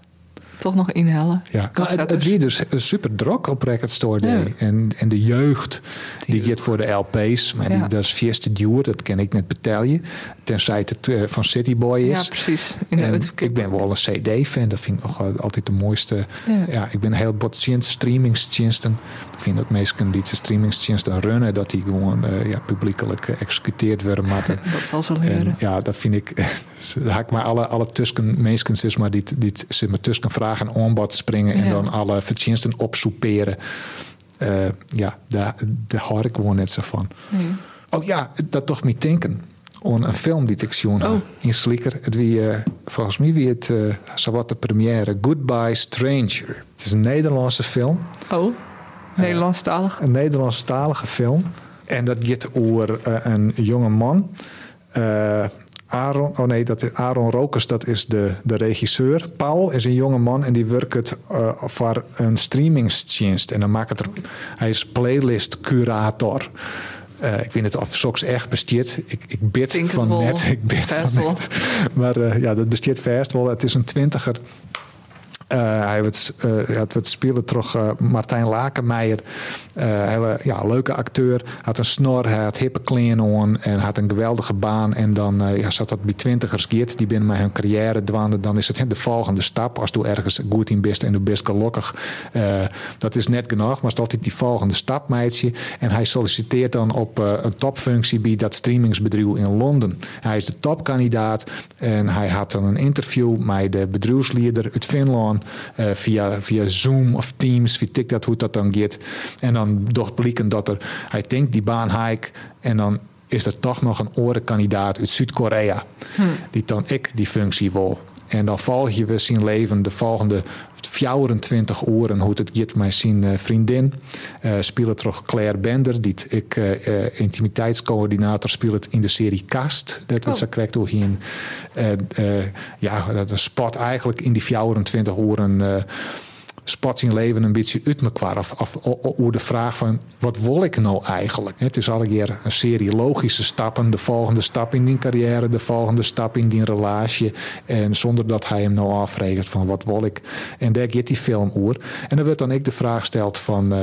C: Toch nog inhalen.
B: Ja, nou, het, het
C: Cassettes.
B: wie dus super drok op Record Store Day.
C: Ja.
B: En, en de jeugd, die,
C: jeugd.
B: gaat voor de LP's. Maar die,
C: Ja.
B: dat is vierste duur, dat ken ik net betalen. Tenzij het eh, van City Boy
C: Ja,
B: is.
C: precies. In de
B: En
C: uitverkeer-
B: ik ben wel een CD-fan. Dat vind ik nog wel altijd de mooiste. Ja.
C: Ja.
B: ik ben heel bot sinds streamingsdiensten. Ik vind dat mensen die de streamingsdiensten runnen, dat die gewoon eh, ja, publiekelijk eh, executeerd worden. matten.
C: Dat zal ze
B: En
C: leren.
B: ja, dat vind ik. Daar haak ik maar alle, alle tusken, meeskens is maar die, die ze me tusken vragen en onbod springen en
C: Ja.
B: dan alle verdiensten opsoeperen. Eh, ja, daar, daar hoor ik gewoon net zo van.
C: Nee.
B: Oh ja, dat toch niet denken. Aan een film die ik zoen
C: Oh.
B: in Slikker. Het wie, eh, volgens mij wie het, eh zowat de première, Goodbye Stranger. Het is een Nederlandse film,
C: Oh, Nederlandstalig.
B: een Nederlandstalige film. En dat gaat over eh, een jonge man. Eh, Aaron, oh nee, dat is Aaron Rokers, dat is de, de regisseur. Paul is een jonge man en die werkt het, eh, voor een streamingsdienst. En dan maakt het er, hij is playlist curator. Eh, ik weet niet of Sox echt bestiert. Ik, ik bid
C: Denk het
B: van
C: wel.
B: net. Ik bid
C: Vast
B: van
C: wel.
B: net. Maar eh, ja, dat bestiert vast wel. Het is een twintiger. Eh, hij wordt, eh, ja, het wordt spelen toch eh, Martijn Lakenmeijer. Eh, hele ja, leuke acteur. Had een snor, hij had hippe kleren aan en had een geweldige baan. En dan eh, ja, zat dat bij twintigers geert. Die binnen met hun carrière dwanden. Dan is het hè, de volgende stap. Als je ergens goed in bent en je bent gelukkig. eh, dat is net genoeg. Maar het is altijd die volgende stap, meidje. En hij solliciteert dan op eh, een topfunctie bij dat streamingsbedrijf in Londen. Hij is de topkandidaat. En hij had dan een interview met de bedrijfsleider uit Finland. eh, via, via Zoom of Teams, wie tikt dat, hoe dat dan gaat. En dan doch blikken dat er, hij denkt die baan hike en dan is er toch nog een orenkandidaat uit Zuid-Korea die dan ik die functie wil. En dan volg je weer zijn leven de volgende 24 uren hoe het gaat met zijn eh, vriendin. Eh speelt toch Claire Bender, die t- ik eh, eh, intimiteitscoördinator speelt in de serie Kast. Dat wat
C: Oh.
B: ze krijgt door hier. eh, ja, dat is spot eigenlijk in die 24 uren. eh, spat zijn leven een beetje uit elkaar. Of, of o- o- hoe de vraag van, wat wil ik nou eigenlijk? Het is al een keer een serie logische stappen. De volgende stap in die carrière, de volgende stap in die relatie. En zonder dat hij hem nou afregelt van, wat wil ik? En daar gaat die film over. En dan wordt dan ik de vraag gesteld van, eh,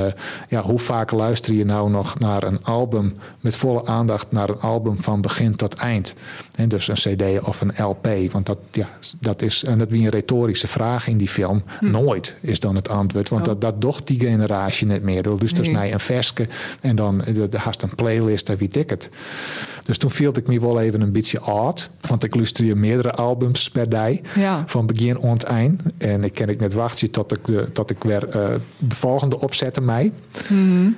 B: ja, hoe vaak luister je nou nog naar een album... met volle aandacht naar een album van begin tot eind? En dus een cd of een LP. Want dat, ja, dat is en dat wie een retorische vraag in die film. Nooit is dan het antwoord. Want
C: Hm. Oh.
B: dat, dat docht die generatie net meer. Dus dat is
C: Nee.
B: mij een verske. En dan eh, dat- haast een playlist en wie tikt het. Dus toen viel ik me wel even een beetje oud. Want ik luisterde meerdere albums per dag.
C: Ja.
B: Van begin ont eind. En ik ken ik net wachten tot ik, de, tot ik weer eh, de volgende opzette mij.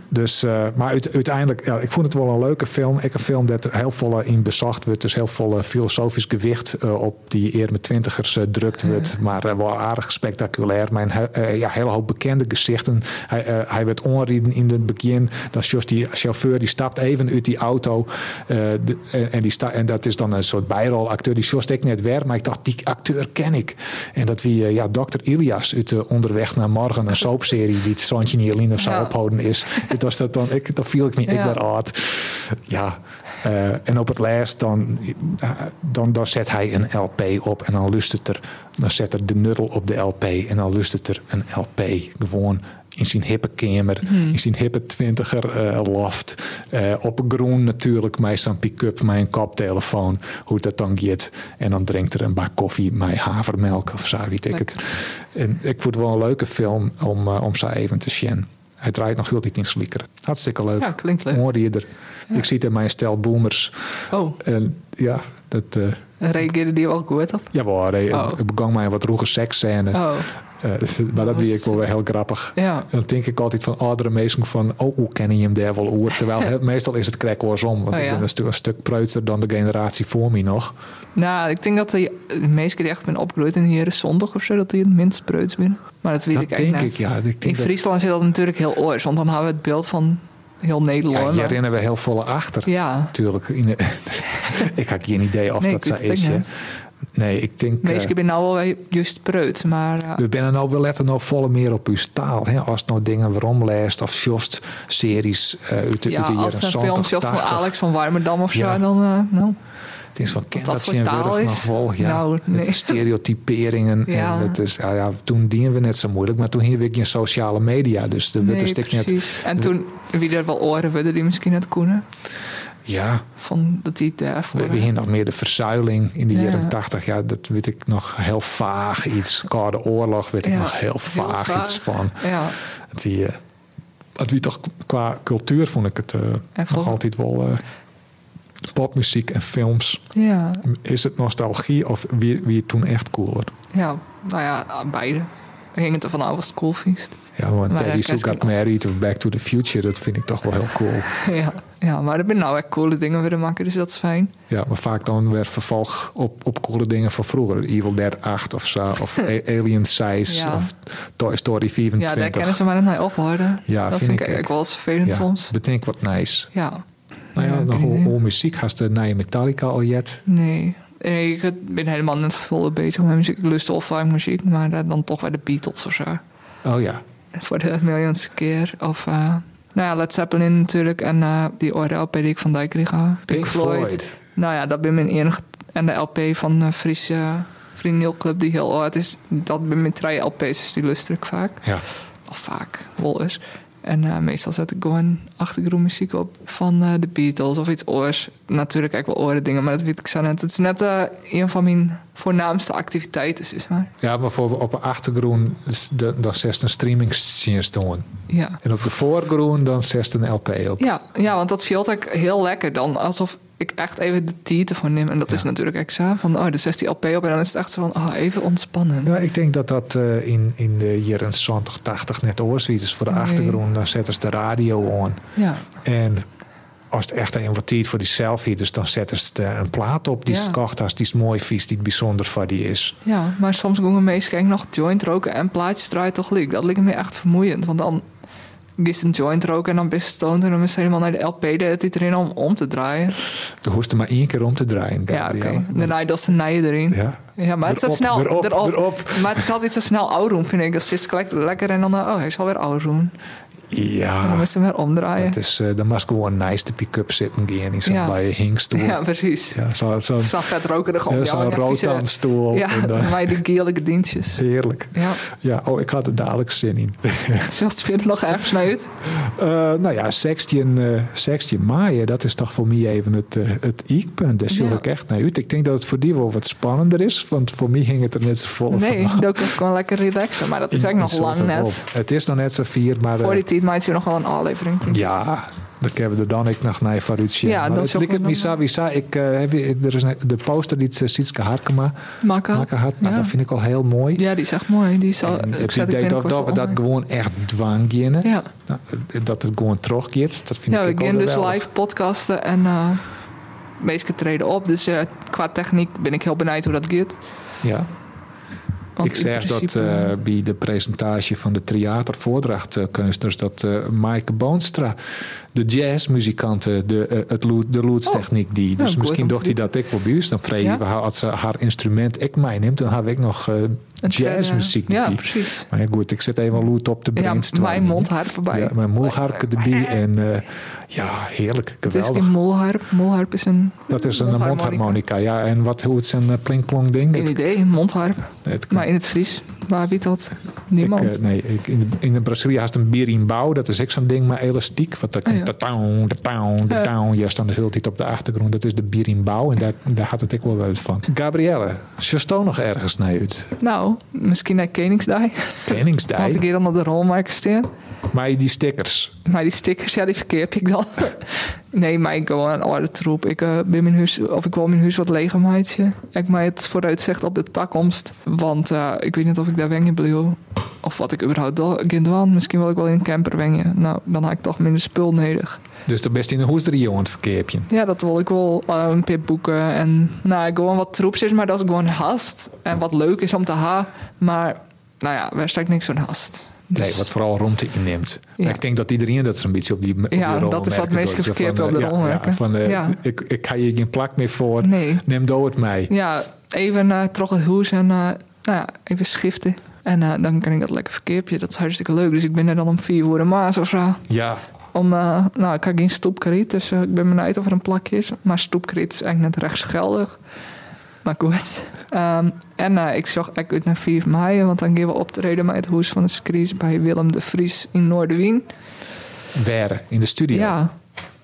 B: Dus, eh, maar uit- uiteindelijk, ja, ik vond het wel een leuke film. Ik een film dat heel vol eh, in bezacht wordt. Dus heel vol eh, filosofisch gewicht eh, op die eer met twintigers eh, drukt wordt. Maar eh, wel aardig spectaculair. Maar een he- eh, ja, hele hoop bekende gezichten. Hij, eh, hij werd onrieden in het begin. Dan is die chauffeur, die stapt even uit die auto. eh, de- en, en die sta, en dat is dan een soort bijrolacteur. Die Sjost ik net weer, maar ik dacht, die acteur ken ik. En dat wie, eh, ja, Dr. Ilias uit eh, Onderweg naar Morgen. Een soapserie die het Santje Nierlin of zo
C: Ja.
B: ophouden verboden is. Het was dat dan, ik, dan viel ik me, ik
C: Ja.
B: werd oud. Ja. eh, en op het laatst dan, eh, dan, dan zet hij een LP op en dan lust het er. Dan zet er de nuddel op de LP en dan lust het er een LP. Gewoon in zijn hippe kamer,
C: Mhm.
B: in zijn hippe twintiger eh, loft. Eh, op een groen natuurlijk, mij zo'n pick-up, mijn koptelefoon. Hoe dat dan gaat. En dan drinkt er een bak koffie, mijn havermelk of zo, weet ik het. En ik vond het wel een leuke film om, eh, om zo even te zien. Hij draait nog heel die tien slieker. Hartstikke leuk.
C: Ja, klinkt leuk.
B: Hoorde je er. Ik zie het in mijn stel boomers.
C: Oh,
B: En ja, dat... eh
C: reageerde die ook goed op?
B: jawel, nee,
C: Oh.
B: het- het begon mij een wat roege seksscène.
C: Oh,
B: Eh, maar dat wie ik wel weer heel grappig.
C: ja.
B: En dan denk ik altijd van oudere mensen van, oh, hoe kennen je hem daar wel oer? Terwijl hè, meestal is het krek om. Want
C: Oh,
B: ik
C: ja.
B: ben een, stu- een stuk preuter dan de generatie voor me nog.
C: Nou, ik denk dat de, de meeste die echt ben opgegroeid in hier is zondag of zo, dat die het minst preuts binnen. Maar dat weet
B: Dat
C: ik eigenlijk
B: denk
C: niet.
B: ik, ja. Ik denk
C: in
B: dat-
C: Friesland zit dat natuurlijk heel oors, want dan hebben we het beeld van heel
B: Ja,
C: Nederland.
B: hier
C: maar-
B: rennen we heel volle achter.
C: ja.
B: Tuurlijk. in de- ik had geen idee of
C: Nee,
B: dat
C: ik
B: zo
C: weet het
B: is.
C: ook
B: hè.
C: niet.
B: Nee, ik denk. eh,
C: Meestal ben nou wel weer juist preut, maar eh,
B: we zijn nou wel letten nou volle meer op uw taal. Hè? Als het nou dingen waarom leest of sjost series eh, uit de,
C: ja,
B: uit de
C: als
B: jaren
C: een film
B: 70,
C: zelf van
B: 80.
C: Alex van Warmerdam of zo,
B: Ja.
C: dan eh, nou,
B: Het is van ken
C: dat
B: dat
C: voor
B: ze in
C: taal
B: Wurg
C: is?
B: nog wel. Ja.
C: Nou, nee.
B: Het is stereotyperingen.
C: Ja.
B: En het is, ja, ja, toen dienen we net zo moeilijk, maar toen hingen we in sociale media. Dus de witte
C: nee,
B: stik net.
C: precies. En toen, wie er wel oren wilde, die misschien het koenen,
B: Ja,
C: van dat die daarvoor...
B: We, we hingen nog meer de verzuiling in de
C: Ja.
B: jaren 80. Ja, dat weet ik nog heel vaag iets. Koude oorlog weet ik
C: Ja,
B: nog heel vaag, iets van.
C: Ja,
B: Het wie, eh, het wie toch qua cultuur vond ik het eh, nog
C: vol-
B: altijd wel... eh, popmuziek en films.
C: ja,
B: Is het nostalgie of wie, wie het toen echt cooler?
C: ja, nou ja, beide. Hing het ervan af als het cool feest.
B: Ja, want
C: Maar
B: Daddy
C: dat
B: Who
C: kan
B: Got
C: ook.
B: Married of Back to the Future, dat vind ik toch wel heel cool.
C: ja, ja, maar er ben nou echt coole dingen willen maken, dus dat is fijn.
B: Ja, maar vaak dan weer vervolg op, op coole dingen van vroeger. Evil Dead 8 of zo, of A- Alien Size,
C: Ja.
B: of Toy Story
C: Ja, daar
B: 24.
C: kennen ze maar net naar ophouden.
B: Ja,
C: dat
B: vind
C: vind
B: ik ook.
C: ik eigenlijk wel eens vervelend soms.
B: bedenk wat nice.
C: Ja,
B: Nou ja,
C: Ja,
B: nog
C: geen
B: hoe,
C: idee.
B: hoe muziek had de nieuwe Metallica al jet.
C: nee. Nee, Ik ben helemaal net volle bezig met muziek. Ik lust al vaak muziek, maar eh, dan toch bij de Beatles of zo.
B: Oh ja,
C: Voor de miljoenste keer. Of, eh, nou ja, Led Zeppelin natuurlijk. En eh, die orde LP die ik van Dijk kreeg. eh, Pink,
B: Pink Floyd.
C: Nou ja, dat ben mijn enige... En de LP van de Friese Vriendiel Club, die heel oud is. Dat ben mijn drie LP's, dus die luister ik vaak.
B: ja.
C: Of vaak, wel eens. En eh, meestal zet ik gewoon achtergrondmuziek op van eh, de Beatles of iets oors. Natuurlijk kijk wel oren dingen, maar dat weet ik zo net. Het is net eh, een van mijn voornaamste activiteiten, zeg maar.
B: Ja, maar voor, op de achtergrond is de- dan zest een streaming zien staan.
C: Ja.
B: En op de voorgrond dan zest een LP op.
C: Ja, ja, want dat viel ook heel lekker dan. Alsof, ik echt even de tijd ervoor neem. En dat is natuurlijk extra. Van, oh, de 16 LP op. En dan is het echt zo van, oh, even ontspannen.
B: Ja, ik denk dat dat eh, in, in de jaren 70, 80 net oorschiet is voor de
C: Nee.
B: achtergrond. Dan zetten ze de radio aan.
C: Ja.
B: En als het echt een wat tijd voor die selfie is, dan zetten ze de- een plaat op die
C: Ja.
B: ze kocht als die is mooi vies, die het bijzonder voor die is.
C: Ja, maar soms doen we meestal nog joint roken en plaatjes draaien toch leuk. Dat lijkt me echt vermoeiend, want dan is een joint roken en dan ben je stoned en dan is het helemaal naar de LP de hele tijd erin om om te draaien.
B: Je hoeft er maar één keer om te draaien.
C: Ja, oké.
B: Gabrielle.
C: Daarna dat ze naaien erin.
B: Ja.
C: Ja, maar het is zo
B: Erop,
C: snel
B: erop, erop.
C: Maar het is altijd zo snel oud doen, vind ik. Dat zit gelijk lekker en dan, eh, oh, hij zal weer oud doen. En dan
B: Ja,
C: moest hem weer omdraaien.
B: dat is, eh dan mag gewoon nice de pick-up zitten gaan in zo'n
C: Ja.
B: bij hingstoel.
C: Ja,
B: Ja,
C: precies. Ja.
B: zo, zo,
C: Zag het rokerig op
B: ja,
C: jou.
B: zo'n
C: en vieze-
B: rotanstoel.
C: Ja,
B: En dan-
C: bij de gierlijke dienstjes.
B: heerlijk.
C: Ja,
B: Ja, oh, ik had er dadelijk zin in.
C: zoals het nog ergens naar uit.
B: Eh, nou ja, 16, eh 16 mei, dat is toch voor mij even het, eh, het iekpunt. Daar zie
C: Ja.
B: ik echt naar uit. Ik denk dat het voor die wel wat spannender is, want voor mij ging het er net zo vol
C: Nee,
B: van.
C: dat is gewoon lekker relaxen. Maar dat is
B: In- in
C: eigenlijk nog
B: soort
C: lang
B: van
C: net.
B: op. Het is nog net zo vier, maar eh,
C: Voor die tijd maakt je nog wel een aflevering. denk ik.
B: ja, dat hebben we er dan ik nog naar vooruit zien.
C: Ja,
B: maar
C: dat
B: het
C: is ook
B: lijkt
C: wel
B: me zo, wie zei, ik, eh, heb je- er is een- de poster die eh, Sietske Harkema
C: Makka.
B: maken had, nou,
C: ja.
B: dat vind ik al heel mooi.
C: ja, die is echt mooi. Die zal,
B: En
C: ik
B: het
C: zet
B: idee
C: ik
B: dat,
C: binnenkort
B: dat we
C: wel
B: dat
C: online.
B: gewoon echt dwang gingen.
C: Ja,
B: Nou, dat het gewoon terugkeert, dat vind
C: ja we
B: ik ook
C: gaan dus
B: geweldig.
C: live podcasten en eh meestal treden op. Dus eh, qua techniek ben ik heel benieuwd hoe dat gaat.
B: Ja.
C: Want
B: ik
C: in
B: zeg dat
C: principe-
B: eh, bij de presentatie van de theatervoordrachtkunstners... dat eh Maaike Boonstra, de jazzmuzikanten, de, eh, het loed, de loedstechniek... die,
C: nou,
B: dus
C: goed
B: misschien
C: om te
B: dacht hij dat ik wel buurs. Dan vreeg
C: Ja.
B: we haar als ze haar instrument ik meeneemt... dan had ik nog eh,
C: een tweede-
B: jazzmuziek
C: Ja,
B: erbij.
C: precies.
B: Maar ja, goed, ik zet even loed op de
C: Ja,
B: brainstorm.
C: mijn mondharp voorbij.
B: Ja, mijn molharpje erbij. En eh, ja, heerlijk,
C: het is geen
B: geweldig.
C: molharp. Molharp is een...
B: Dat is een
C: mondharmonica.
B: mondharmonica. Ja, en wat, hoe het zijn eh, plinkplong ding?
C: Geen
B: Het-
C: idee, mondharp.
B: het-
C: Maar in het Fries, waar biedt dat?
B: Ik,
C: Niemand.
B: eh, nee, ik, in, de, in de Brazilië haast een berimbau. Dat is echt zo'n ding, maar elastiek. Wat dat
C: Ah, ja.
B: de taun, de taun, de
C: Ja.
B: taun. Ja, staan de hele tijd op de achtergrond. Dat is de berimbau. En daar, daar had het ik wel wat van. Gabrielle, Justo nog ergens naar uit?
C: nou, misschien naar Koningsdag. Want ik
B: Kenningsdijk.
C: hier dan op de rolmaker staan.
B: Maar die stickers.
C: Maar die stickers, ja, die verkeer ik dan. nee, maar ik gewoon een oude troep. Ik, eh, ben mijn huis, of ik wil mijn huis wat leger meidje. Ik mij het vooruitzicht op de takkomst. Want eh, ik weet niet of ik daar wengen bleef. Of wat ik überhaupt do- kan doen. Misschien wil ik wel in een camper wengen. Nou, dan had ik toch minder spul nodig.
B: Dus de best in de hoes drie jongen het verkeerpje.
C: Ja, dat wil ik wel. eh, een pip boeken en nou, gewoon wat troeps is, maar dat is gewoon hast. En wat leuk is om te ha. Maar nou ja, daar ik niks van hast. Dus-
B: Nee, wat vooral ruimte inneemt.
C: Ja.
B: Ik denk dat iedereen dat zo'n beetje op die op die
C: Ja,
B: rol
C: dat is wat
B: merkt, dat
C: meest
B: je van,
C: geverkeerd op
B: eh,
C: de
B: ja,
C: rol
B: ja,
C: merken.
B: van, eh,
C: Ja.
B: Ik, ik ga hier geen plak meer voor.
C: Nee.
B: Neem door het mij.
C: Ja, even naar terug het huis en eh, nou ja, even schiften. En eh, dan kan ik dat lekker verkeerpje. Dat is hartstikke leuk. Dus ik ben er dan om vier uur de maas of zo.
B: Ja,
C: Om, eh, nou, ik had geen stoepkriet, dus eh, ik ben benieuwd of er een plakje is. Maar stoepkriet is eigenlijk net rechtsgeldig. Maar goed. Ehm, en eh, ik zag ik uit naar 4 mei, want dan gaan we optreden met het Hoes van de Skries bij Willem de Vries in Noorderwien.
B: waar? In de studio.
C: Ja,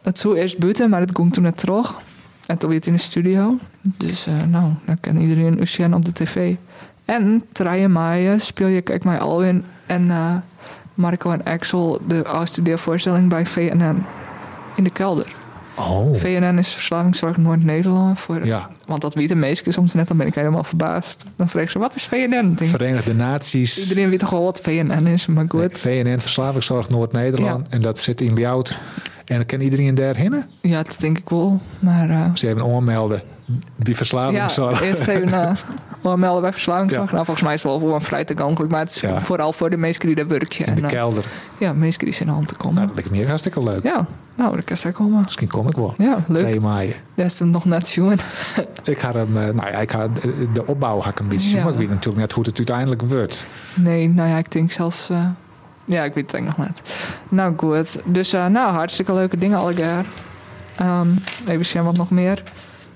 C: het zou eerst buiten, maar het ging toen naar terug. En toen weer in de studio. Dus eh, nou, dan kan iedereen Oceaan op de tv. En 3 mei speel je Kijk mij Alwin en eh, Marco en Axel de afstudeervoorstelling bij VNN in de kelder.
B: Oh.
C: VNN is Verslavingszorg Noord-Nederland. Voor,
B: Ja.
C: Want dat weten meesten soms net, dan ben ik helemaal verbaasd. Dan vreeg ze, wat is VNN? Dan denk ik,
B: Verenigde Naties. eh,
C: iedereen weet toch wel wat VNN is, maar goed.
B: Nee, VNN Verslavingszorg Noord-Nederland. En dat zit in Bjout. En kan iedereen daarheen?
C: Ja, dat denk ik wel. Maar eh,
B: Ze hebben aanmelden. Die verslavingszorg.
C: Ja, eerst even uh, melden bij verslavingszorg.
B: Ja.
C: Nou, volgens mij is het wel gewoon vrij toegankelijk. Maar het is
B: Ja.
C: vooral voor de mensen die daar werken.
B: in
C: En,
B: de
C: eh,
B: kelder.
C: ja, mensen die zijn aan te komen.
B: Nou, dat lijkt me hier hartstikke leuk.
C: ja, nou, dat kan ze komen.
B: Misschien kom ik wel.
C: Ja, leuk.
B: Nee, maar
C: Dat is hem nog net zien.
B: ik ga hem, eh, nou ja, ik ga de- de opbouw ga ik een beetje zien,
C: Ja.
B: maar ik weet natuurlijk net hoe het uiteindelijk wordt.
C: Nee, nou ja, ik denk zelfs... eh, ja, ik weet het eigenlijk nog net. Nou, goed. Dus, eh, nou, hartstikke leuke dingen allegaar. Ehm even zien wat nog meer.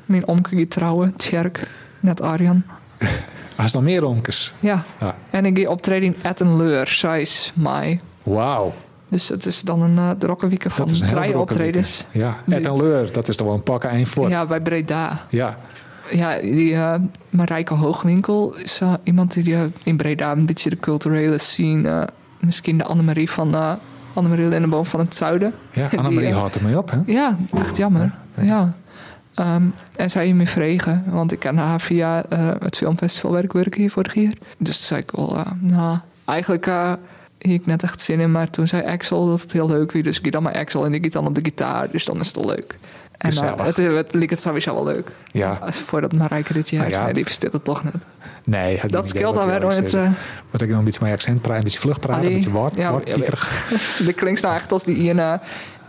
C: Mijn omke gaat trouwen, Tjerk. Net Arjan.
B: Als nog meer omkes.
C: Ja.
B: Ja.
C: En ik ga optreden in Ettenleur, 6 mei.
B: Wauw,
C: Dus het is dan een uh, rokkenwieken van
B: dat is een heel
C: drie
B: drukke
C: optredens.
B: weekend. Ja, Ed en Leur, dat is toch wel een pakken eind voor.
C: Ja, bij Breda.
B: ja.
C: Ja, die eh, Marijke Hoogwinkel is eh, iemand die eh, in Breda een beetje de culturele scene... eh, misschien de Annemarie van... eh Annemarie Linnenboom van het Zuiden.
B: ja
C: Die,
B: Annemarie
C: eh,
B: houdt ermee op, hè?
C: Ja, echt jammer. Ja. Ehm, en zij je me vragen, want ik ken haar via eh, het filmfestival waar ik werk hier vorig jaar. Dus toen zei ik al, eh, nou, eigenlijk eh hier ik net echt zin in. Maar toen zei Axel dat het heel leuk was. Dus ik giet dan maar Axel en ik giet dan op de gitaar. Dus dan is het al leuk. En eh,
B: Gezellig.
C: het, het liep het sowieso wel leuk.
B: Ja.
C: Als Voordat Marijke dit jaar
B: Nou ja,
C: zei, die
B: dat-
C: verstond het toch net.
B: Nee, had
C: Dat
B: niet
C: scheelt
B: idee
C: al
B: wat
C: weer.
B: jij
C: want,
B: zei.
C: eh,
B: Moet ik dan een beetje mijn accent praten, een beetje vlug praten, een
C: Allee.
B: beetje woord,
C: Ja,
B: woordpiekerig.
C: Dat klinkt nou echt als die ene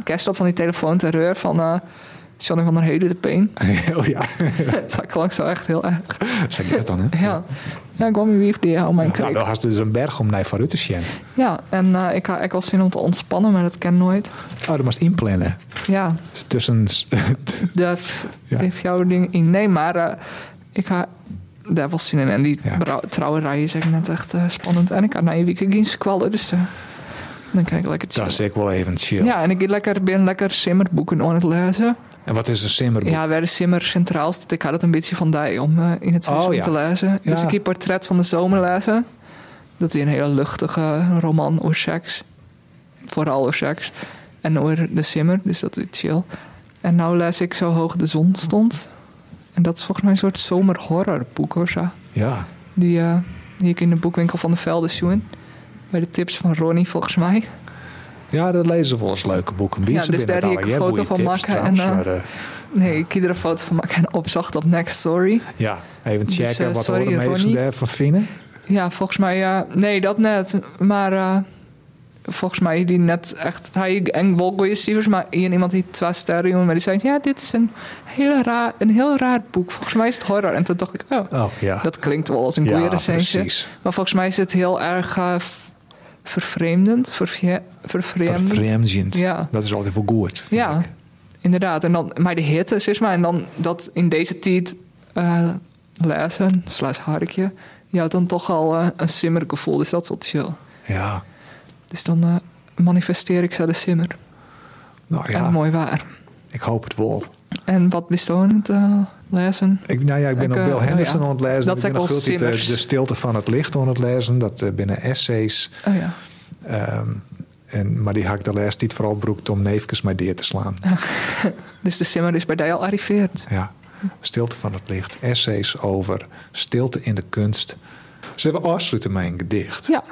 C: kerststad van die telefoonterreur van eh Johnny van der Heden de Peen.
B: oh ja,
C: dat klonk zo echt heel erg.
B: zeg je dat dan, hè?
C: Ja, ja ik kwam hier weer die al mijn
B: Nou,
C: kreeg.
B: dan had ze dus een berg om naar vooruit te zien.
C: Ja, en eh, ik had ik wel zin om te ontspannen, maar dat ken nooit.
B: Oh, dat moest inplannen. Dus
C: Ja,
B: Tussen...
C: dat
B: Ja.
C: heeft jouw ding in. Nee, maar eh, ik had daar wel zin in. En die
B: Ja.
C: brou- trouwerij is echt net echt eh, spannend. En ik had na je week geen squallen, dus eh, dan kan ik lekker
B: dat
C: chillen.
B: is ik wel even chill.
C: Ja, en ik lekker, ben lekker simmerboeken aan het lezen.
B: En wat is een simmerboek?
C: Ja, waar de simmer centraal staat. Ik had het een beetje van die om eh, in het
B: Oh,
C: seizoen
B: ja.
C: te lezen. Dus
B: Ja.
C: ik heb Portret van de Zomer lezen. Dat is een hele luchtige roman over seks. Vooral over seks. En over de simmer, dus dat is chill. En nou lees ik Zo hoog de zon stond. En dat is volgens mij een soort zomerhorrorboek of zo.
B: Ja.
C: Die, eh, die ik in de boekwinkel van de Velde zoen. Bij de tips van Ronnie volgens mij.
B: Ja, dat lezen we wel eens leuke boeken. Wie
C: Ja,
B: ze
C: dus
B: binnen
C: daar
B: het
C: heb
B: al.
C: ik
B: Jij
C: een
B: boeie
C: foto van
B: tips
C: maken en,
B: trouwens,
C: eh,
B: maar, eh,
C: Nee, ik ieder een foto van maken en opzocht op Next Story.
B: ja, even
C: dus,
B: checken
C: eh,
B: wat
C: sorry,
B: de mensen
C: Ronnie.
B: daarvan vinden.
C: Ja, volgens mij, ja. Nee, dat net. Maar eh, volgens mij die net echt... Hij en wel goede cijfers, maar hier iemand die twee sterren jongen, maar die zei... Ja, dit is een, hele raar, een heel raar boek. Volgens mij is het horror. En toen dacht ik, oh,
B: Oh, ja.
C: dat klinkt wel als een
B: Ja,
C: goede recensie.
B: precies.
C: Maar volgens mij is het heel erg eh, v- vervreemdend. Vervre- vervreemdend.
B: Vervreemdend.
C: Ja.
B: Dat is altijd wel goed. vind
C: ja,
B: ik.
C: inderdaad. En dan, maar de hitte, zeg maar. En dan dat in deze tijd eh, lezen, slash harkje... Ja, dan toch al eh, een simmerig gevoel. Dus dat is wel chill.
B: Ja.
C: Dus dan eh, manifesteer ik ze de simmer.
B: Nou
C: En
B: ja,
C: mooi waar.
B: ik hoop het wel.
C: En wat wist je aan het eh, lezen?
B: Ik, nou ja, ik ben
C: Ik,
B: ook
C: eh,
B: Bill
C: nou
B: Henderson
C: ja.
B: aan het lezen.
C: Dat
B: ik
C: zeg
B: ben
C: ik
B: nog
C: wel
B: veel tijd, eh, de,
C: zimmers.
B: stilte van het licht aan het lezen. Dat eh, binnen essays.
C: Oh ja.
B: ehm, en, maar die haak de les niet vooral broekt om neefjes mij deer te slaan.
C: Dus de simmer is bij jou al arriveerd.
B: Ja. Stilte van het licht. Essays over stilte in de kunst. Ze hebben afsluiten met een gedicht.
C: Ja.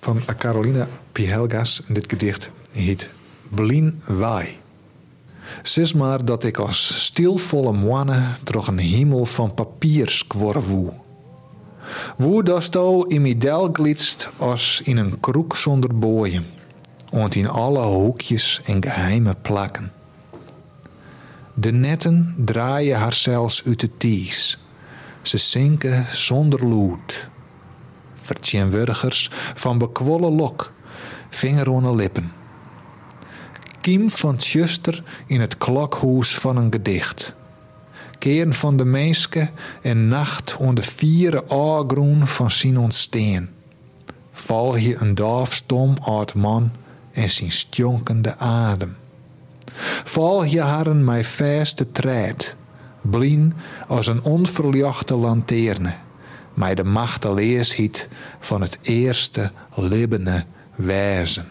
B: Van Carolina Pihelgas. En dit gedicht heet Blien Waai. Sis maar dat ik als stilvolle moanne door een hemel van papier squor woe. Woe dasto in mijn del glitst als in een kroek zonder boeien. Want in alle hoekjes en geheime plakken. De netten draaien haarzelfs uit de ties. Ze zinken zonder loed. Vertegenwoordigers van bekwollen lok, vinger aan de lippen. Kiem van Tjuster in het klokhoes van een gedicht. Keren van de meeske en nacht onder vieren aagroen van zijn ontsteen. Val je een doofstom uit man en zijn stjonkende adem. Val je haren mij vaste tred, blien als een onverljochte lanterne, mij de machteloosheid van het eerste libbene wezen.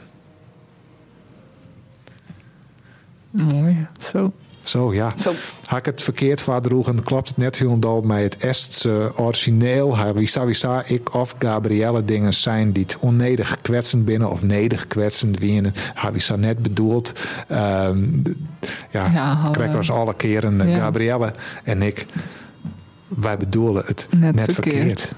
C: Mooi. Zo.
B: Zo ja.
C: Zo.
B: Had ik het verkeerd vaardroegen, klopt het net helemaal met het Estse origineel. Hij- Wie zou, wie zou ik of Gabrielle dingen zijn die het onnedig kwetsend binnen of nedig kwetsend wienen. Hij wie zou net bedoeld. ehm, d- ja,
C: Ja, hadden-
B: krijg ons alle keren eh,
C: Ja.
B: Gabrielle en ik. Wij bedoelen het net,
C: Net
B: verkeerd.
C: verkeerd.